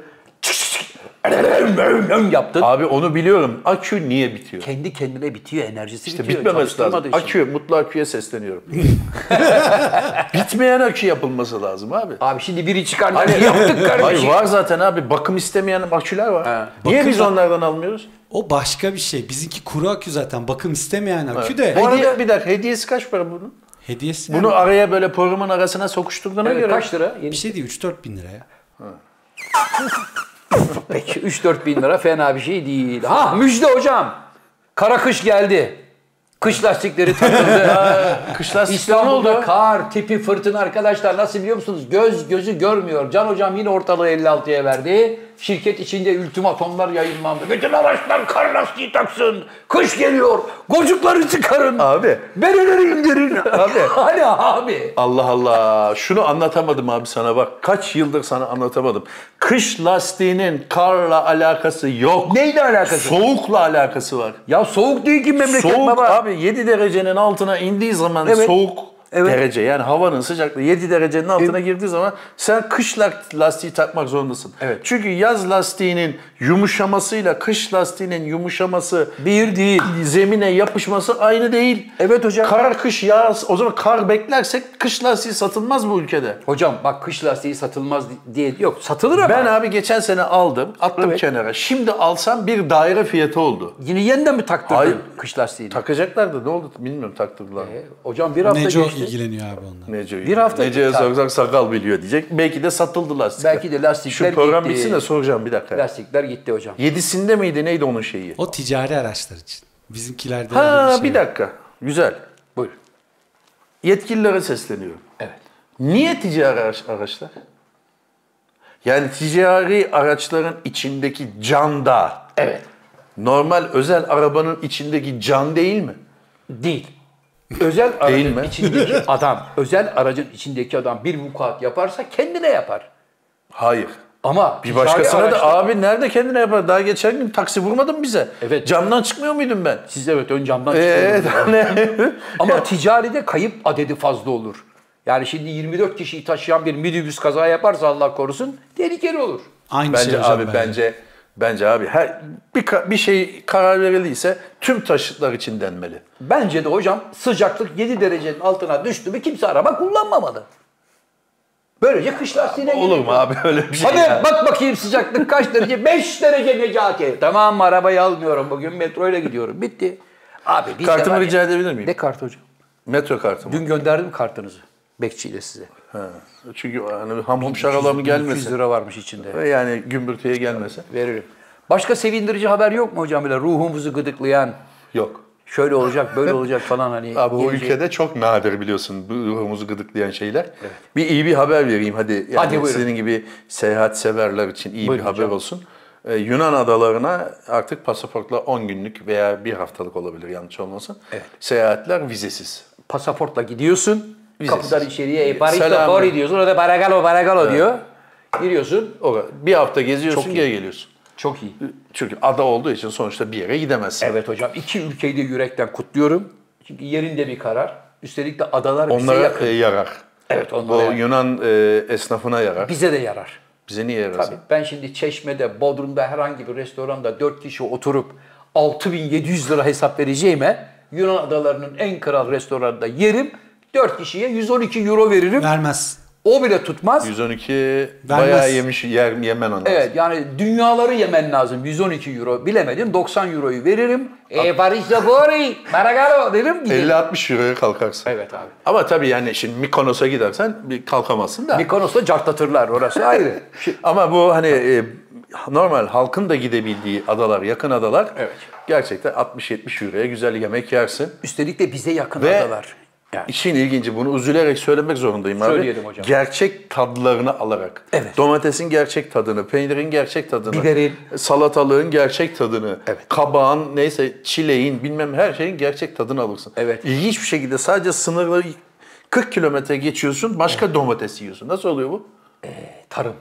yaptın.
Abi onu biliyorum. Akü niye bitiyor?
Kendi kendine bitiyor enerjisi
İşte
bitiyor.
bitmemesi lazım.
çalıştırmadığı için.
Akü, mutlu
[laughs]
aküye sesleniyorum. Bitmeyen akü yapılması lazım abi.
Abi şimdi biri çıkar. Hani yaptık
Hayır
kardeşim.
var zaten abi. Bakım istemeyen aküler var. Niye
Bakım-
biz onlardan almıyoruz?
O başka bir şey. Bizimki kuru akü zaten. Bakım istemeyen akü de.
Bu arada bir dakika hediyesi kaç para bunun?
Hediyesi
Bunu araya böyle programın arasına sokuşturduğuna
Evet,
göre.
kaç lira?
bir şey değil 3-4 bin liraya.
Peki 3-4 bin lira fena bir şey değil. Ha müjde hocam. Kara kış geldi. Kış lastikleri [laughs] takıldı.
Kışlar sistemi
İstanbul'da
oldu.
kar tipi fırtına arkadaşlar nasıl biliyor musunuz? Göz gözü görmüyor. Can hocam yine ortalığı 56'ya verdi. Şirket içinde ultimatomlar yayınlandı. Bütün araçlar kar lastiği taksın. Kış geliyor. Gocukları çıkarın.
Abi.
Bereleri
[laughs]
indirin. Abi. hani abi.
Allah Allah. Şunu anlatamadım abi sana bak. Kaç yıldır sana anlatamadım. Kış lastiğinin karla alakası yok.
Neyle alakası?
Soğukla alakası var.
ya soğuk değil ki memleket
Soğuk
baba.
abi 7 derecenin altına indiği zaman
Evet.
soğuk
Evet. E-
derece yani havanın sıcaklığı 7 derecenin altına girdiği zaman sen kış lak- lastiği takmak zorundasın.
Evet.
Çünkü yaz lastiğinin yumuşamasıyla kış lastiğinin yumuşaması
Bir değil.
zemine yapışması aynı değil.
Evet hocam.
Kar kış yaz o zaman kar beklersek kış lastiği satılmaz bu ülkede.
Hocam bak kış lastiği satılmaz diye yok satılır ama.
Ben abi geçen sene aldım, attım
Evet.
kenara. Şimdi alsam bir daire fiyatı oldu.
Yine yeniden mi taktırdın
Hayır.
kış lastiğini? E,
Takacaklar da ne oldu bilmiyorum taktırdılar. mı?
Hocam bir hafta
Neco
geçti.
ilgileniyor abi onunla.
Nece'yi.
Bir hafta-
Nece'ye
Tabii.
sorsak sakal biliyor diyecek. Belki de satıldı lastikler.
Belki de lastikler
Şu program
gitti.
bitsin de soracağım bir dakika.
Lastikler gitti hocam.
Yedisinde miydi neydi onun şeyi?
O ticari araçlar için. Bizimkilerde öyle
Ha
şey
bir
yok.
dakika. Güzel.
Buyurun.
Yetkililere sesleniyorum.
Evet.
Niye ticari araç- araçlar? Yani ticari araçların içindeki can da
Evet.
normal özel arabanın içindeki can değil mi?
Değil. Özel aracın
Değil mi?
içindeki
[laughs]
adam, özel aracın içindeki adam bir vukuat yaparsa kendine yapar.
Hayır.
Ama
Bir başkasına
ticari
da
araçlar-
abi nerede kendine yapar? Daha geçen gün taksi vurmadın bize.
Evet.
Camdan çıkmıyor muydum ben?
siz evet ön camdan
Eee [laughs]
çıkıyorsunuz. Ama ticaride kayıp adedi fazla olur. Yani şimdi 24 kişiyi taşıyan bir minibüs kaza yaparsa Allah korusun tehlikeli olur.
Aynı şey
bence
hocam
abi bence bence abi her bir ka- bir şey karar verildiyse tüm taşıtlar için denmeli.
Bence de hocam sıcaklık 7 derecenin altına düştü mü kimse araba kullanmamalı. Böylece kış lastiğine
Olur
gerek
mu
yok.
abi [laughs] öyle bir şey?
Hadi
ya?
bak bakayım sıcaklık kaç
[laughs]
derece? 5 derece Necati. Tamam mı? arabayı almıyorum bugün metroyla gidiyorum. Bitti. Abi biz de
Kartımı
var ya-
rica edebilir miyim?
Ne kartı hocam?
Metro kartımı.
Dün gönderdim kartınızı bekçiyle size.
Çünkü hani hamum şaralamı
300
gelmesin.
lira varmış içinde.
Yani gümbürtüye gelmesin.
Veririm. Başka sevindirici haber yok mu hocam bile ruhumuzu gıdıklayan?
Yok.
şöyle olacak, böyle olacak falan hani.
Abi o
gelecek.
ülkede çok nadir biliyorsun bu ruhumuzu gıdıklayan şeyler. Bir iyi bir haber vereyim hadi. Yani
Hadi buyurun.
Sizin gibi seyahat severler için iyi
Buyurun
bir haber
hocam.
olsun. Ee, Yunan adalarına artık pasaportla 10 günlük veya bir haftalık olabilir yanlış olmasın. Seyahatler vizesiz.
pasaportla gidiyorsun.
Vizesiz.
Kapıdan içeriye e, Paris'te
Selam.
Pori diyorsun. Orada Baragalo Baragalo diyor. Giriyorsun.
Orada bir hafta geziyorsun
Çok iyi.
geri geliyorsun.
Çok iyi.
Çünkü ada olduğu için sonuçta bir yere gidemezsin.
Evet hocam iki ülkeyi de yürekten kutluyorum. Çünkü yerinde bir karar. Üstelik de adalar bize
Onlara
yakın.
e, yarar.
Evet
Bu
onlara yakın.
Yunan e, esnafına yarar.
Bize de yarar.
Bize niye yarasın?
Tabii. Ben şimdi Çeşme'de, Bodrum'da herhangi bir restoranda 4 kişi oturup 6700 lira hesap vereceğime Yunan adalarının en kral restoranında yerim. 4 kişiye 112 euro veririm.
Vermez.
O bile tutmaz.
112 bayağı yemiş yer, yemen onlar.
Evet yani dünyaları yemen lazım. 112 euro bilemedim 90 euroyu veririm. E Paris de Bori, Maragalo derim. giderim.
50-60 euroya kalkarsın.
Evet abi.
Ama tabii yani şimdi Mikonos'a gidersen bir kalkamazsın da.
Mikonos'ta cartlatırlar orası ayrı. Şimdi-
Ama bu hani e, normal halkın da gidebildiği adalar, yakın adalar
Evet.
gerçekten 60-70 euroya güzel yemek yersin.
Üstelik de bize yakın
Ve
adalar. Yani.
İşin ilginci bunu üzülerek söylemek zorundayım abi.
Söyleyelim hocam.
Gerçek tadlarını alarak.
Evet.
Domatesin gerçek tadını, peynirin gerçek tadını,
Biberin.
salatalığın gerçek tadını,
Evet.
kabağın neyse çileğin bilmem her şeyin gerçek tadını alırsın.
Evet.
İlginç bir şekilde sadece sınırları 40 kilometre geçiyorsun başka domates yiyorsun. Nasıl oluyor bu?
Tarım.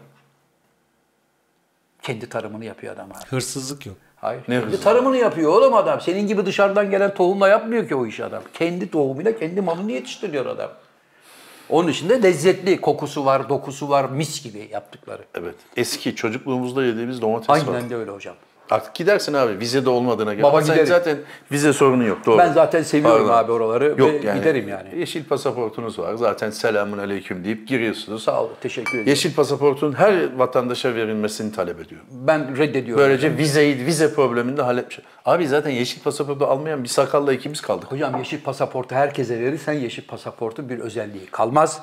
Kendi tarımını yapıyor adam abi.
Hırsızlık yok.
Hayır.
Ne
kendi
hızlı?
tarımını yapıyor oğlum adam. Senin gibi dışarıdan gelen tohumla yapmıyor ki o işi adam. Kendi tohumuyla kendi malını yetiştiriyor adam. Onun için de lezzetli. Kokusu var, dokusu var, mis gibi yaptıkları.
Evet. Eski çocukluğumuzda yediğimiz domates var.
Aynen de öyle hocam.
Artık gidersin abi vize de olmadığına göre.
Baba
Sen
giderim.
Zaten vize sorunu yok. Doğru.
Ben zaten seviyorum abi oraları ve
Yok yani.
giderim yani.
Yeşil pasaportunuz var. Zaten selamun aleyküm deyip giriyorsunuz.
Sağ olun, teşekkür ederim.
Yeşil pasaportun her vatandaşa verilmesini talep ediyor.
Ben reddediyorum.
Böylece vizeyi, vize problemini de halletmiş. Abi zaten yeşil pasaportu almayan bir sakalla ikimiz kaldık.
Hocam yeşil pasaportu herkese verirsen yeşil pasaportun bir özelliği kalmaz.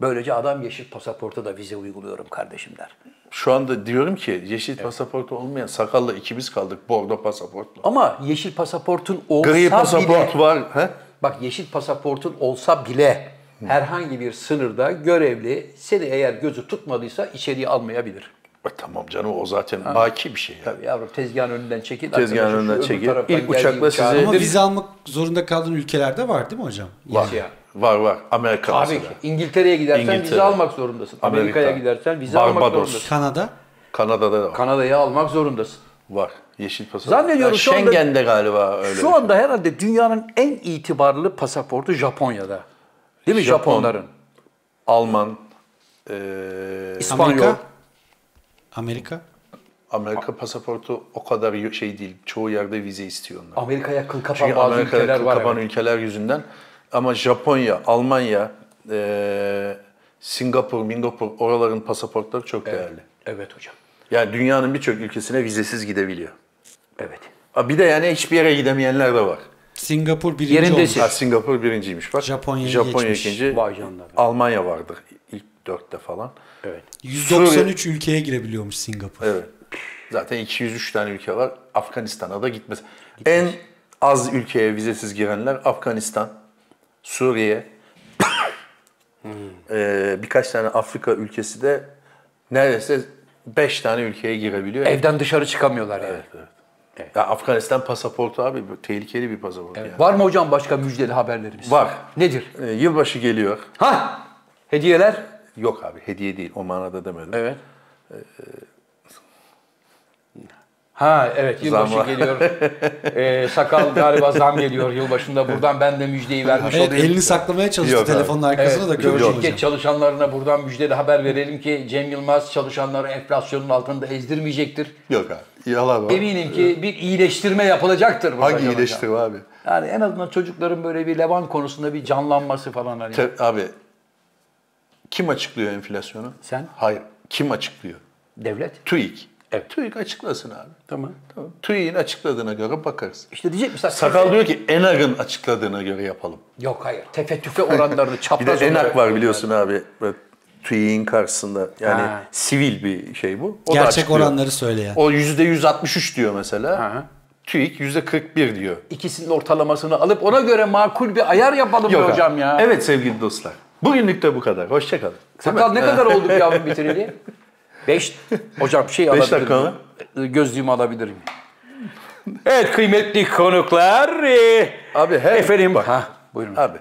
Böylece adam yeşil pasaporta da vize uyguluyorum kardeşim der.
Şu anda diyorum ki yeşil pasaportu olmayan sakalla ikimiz kaldık bordo pasaportla.
Ama yeşil pasaportun olsa
Gri pasaport
bile,
var. He?
bak yeşil pasaportun olsa bile herhangi bir sınırda görevli seni eğer gözü tutmadıysa içeriye almayabilir.
E, tamam canım o zaten baki bir şey. Ya.
Tabii yavrum tezgahın önünden çekil.
Tezgahın
arkadaşım şu
önünden
öbür
çekil.
taraftan
İlk
geldiği
uçakla
uçağı-
sizi-
Ama
Nedir?
vize almak zorunda kaldığın ülkelerde var değil mi hocam?
Var.
Ya.
Var var. Amerika
Tabii ki.
mesela.
İngiltere'ye gidersen vize
İngiltere.
almak zorundasın.
Amerika.
Amerika'ya gidersen vize almak
Barbados.
zorundasın.
Kanada.
Kanada'da da var.
Kanada'ya almak zorundasın.
Var. Yeşil pasaport.
Zannediyorum
Ya
şu anda-
Schengen'de galiba öyle. şey.
Şu anda herhalde dünyanın en itibarlı pasaportu Japonya'da. Değil mi
Japon,
Japonların?
Alman, eee,
İspanyol.
Amerika. Amerika.
Amerika pasaportu o kadar yo- şey değil. Çoğu yerde vize istiyor onlar.
Amerika'ya kıl kapan
Çünkü
bazı
Amerika'da
ülkeler
kıl
var.
kapan
evet.
ülkeler yüzünden. Ama Japonya, Almanya, eee, Singapur, Mingapur oraların pasaportları çok değerli.
Evet hocam.
Yani dünyanın birçok ülkesine vizesiz gidebiliyor.
Evet.
Ha, Bir de yani hiçbir yere gidemeyenler de var.
Singapur birinci
Yerindesin.
olmuş.
Ha, Singapur birinciymiş bak.
Japonya'yı
Japonya
geçmiş.
ikinci.
Şey- Vay canına be.
Almanya vardı ilk dörtte falan.
Evet.
193 ülkeye girebiliyormuş Singapur.
Evet. Zaten 203 tane ülke var. Afganistan'a da gitmez. En az ülkeye vizesiz girenler Afganistan, Suriye, eee, birkaç tane Afrika ülkesi de neredeyse 5 tane ülkeye girebiliyor.
Evden dışarı çıkamıyorlar yani.
Ya Afganistan pasaportu abi bu tehlikeli bir pasaport yani.
Var mı hocam başka müjdeli haberlerimiz?
Var.
Nedir?
Ee, yılbaşı geliyor.
Ha? Hediyeler?
Yok abi hediye değil o manada demedim.
Evet. Ha evet yılbaşı
Zam var. [laughs]
geliyor. Ee, sakal galiba zam geliyor yılbaşında. Buradan ben de müjdeyi vermiş
Evet,
olayım.
elini saklamaya çalıştı
Yok abi.
telefonun arkasına da
Yok,
görüyorum
şirket
hocam.
çalışanlarına buradan müjdeli haber verelim ki Cem Yılmaz çalışanları enflasyonun altında ezdirmeyecektir.
Yok abi yalan var.
Eminim ki bir iyileştirme yapılacaktır. burada
Hangi
Cem Hocam.
iyileştirme abi?
Yani en azından çocukların böyle bir Levan konusunda bir canlanması falan hani.
Te- abi kim açıklıyor enflasyonu?
Sen?
Hayır. Kim açıklıyor?
Devlet.
TÜİK. Evet. TÜİK açıklasın abi.
Tamam.
Tamam. TÜİK'in açıkladığına göre bakarız.
İşte diyecek mi?
Sakal diyor ki ENAG'ın açıkladığına göre yapalım.
Yok hayır. Tefe tüfe oranlarını
[laughs] Bir
çapraz
de
olarak-
ENAG var biliyorsun abi. Böyle TÜİK'in karşısında yani
Ha.
sivil bir şey bu. O da
Gerçek
açıklıyor.
oranları söyleyen.
O %163 diyor mesela.
Ha.
TÜİK %41 diyor.
İkisinin ortalamasını alıp ona göre makul bir ayar yapalım be
abi.
hocam ya.
Evet sevgili dostlar. Bugünlük de bu kadar. Hoşçakalın.
Sakal ne
Ee,
kadar
[laughs]
olduk yavrum bitireli? Beş, hocam şey alabilir Ee,
dakika
miyim? Gözlüğümü alabilirim.
Evet kıymetli konuklar.
Ee,
e,
Abi her
Efendim.
bak,
Ha, buyurun.
Abi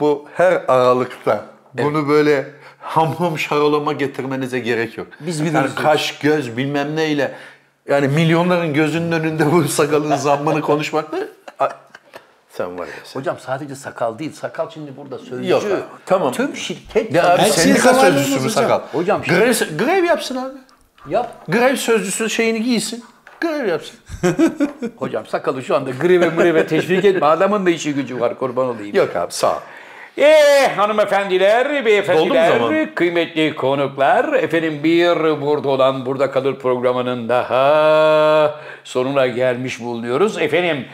bu her aralıkta bunu böyle ham ham şarolama getirmenize gerek yok.
Biz
yani
biliriz.
kaş göz bilmem neyle yani milyonların gözünün önünde bu sakalın zammını konuşmak ne? A- Sen var ya sen.
Hocam sadece sakal değil. Sakal şimdi burada sözcü.
Yok abi, tamam.
Tüm şirket
Ya abi
Her şeyin
sendika
zamanı
sözcüsü bu
olmaz hocam.
sakal.
Hocam şimdi-
grev, grev yapsın abi.
yap.
Grev sözcüsü şeyini giysin. Grev yapsın.
Hocam sakalı şu anda grive mrive teşvik etme. Adamın da işi gücü var kurban olayım.
Yok abi sağ ol.
Ee, hanımefendiler,
Doldu mu zaman?
beyefendiler, kıymetli konuklar. Efendim bir burada olan burada kalır programının daha sonuna gelmiş bulunuyoruz. Efendim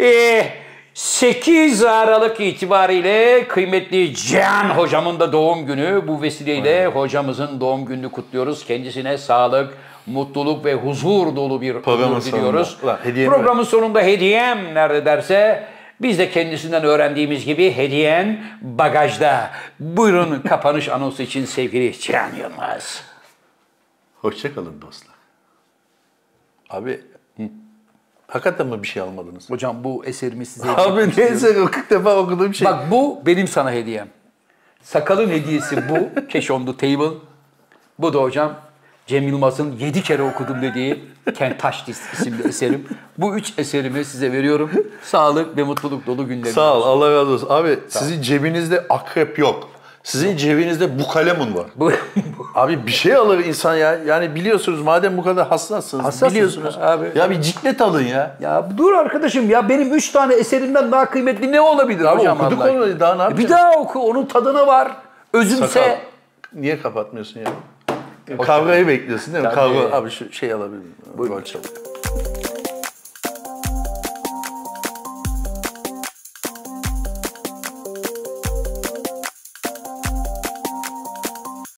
ee, 8 Aralık itibariyle kıymetli Cihan hocamın da doğum günü. Bu vesileyle hocamızın doğum gününü kutluyoruz. Kendisine sağlık, mutluluk ve huzur dolu bir
Programın
ömür diliyoruz.
sonunda. Ulan hediye mi?
Programın sonunda hediyem nerede derse biz de kendisinden öğrendiğimiz gibi hediyen bagajda. Buyurun kapanış anonsu için sevgili Cihan Yılmaz.
Hoşçakalın dostlar. Abi hı, hakikaten mi bir şey almadınız?
Hocam bu eserimi size
Abi neyse 40 defa okuduğum şey.
Bak bu benim sana hediyem. Sakalın hediyesi bu. Cash on the table. Bu da hocam Cem Yılmaz'ın 7 kere okudum dediği Kentaş Disk isimli eserim. Bu üç eserimi size veriyorum. Sağlık ve mutluluk dolu günler.
Sağ ol Allah razı olsun. Abi sizin cebinizde akrep yok. Sizin cebinizde bu kalemun var.
Bu-
Abi bir şey alır insan ya. Yani biliyorsunuz madem bu kadar hassassınız.
Hassassınız
biliyorsunuz.
abi.
Ya bir ciklet alın ya.
ya dur arkadaşım ya benim üç tane eserimden daha kıymetli ne olabilir
Abi
hocam
okuduk
Allah aşkına? E,
onu daha ne
Bir
yapacağız?
daha oku onun tadına var. Özümse.
Sakal. Niye kapatmıyorsun ya? Kavgayı bekliyorsun değil mi?
Tabii.
Kavga. Abi şu şey alabilir miyim? Buyurun.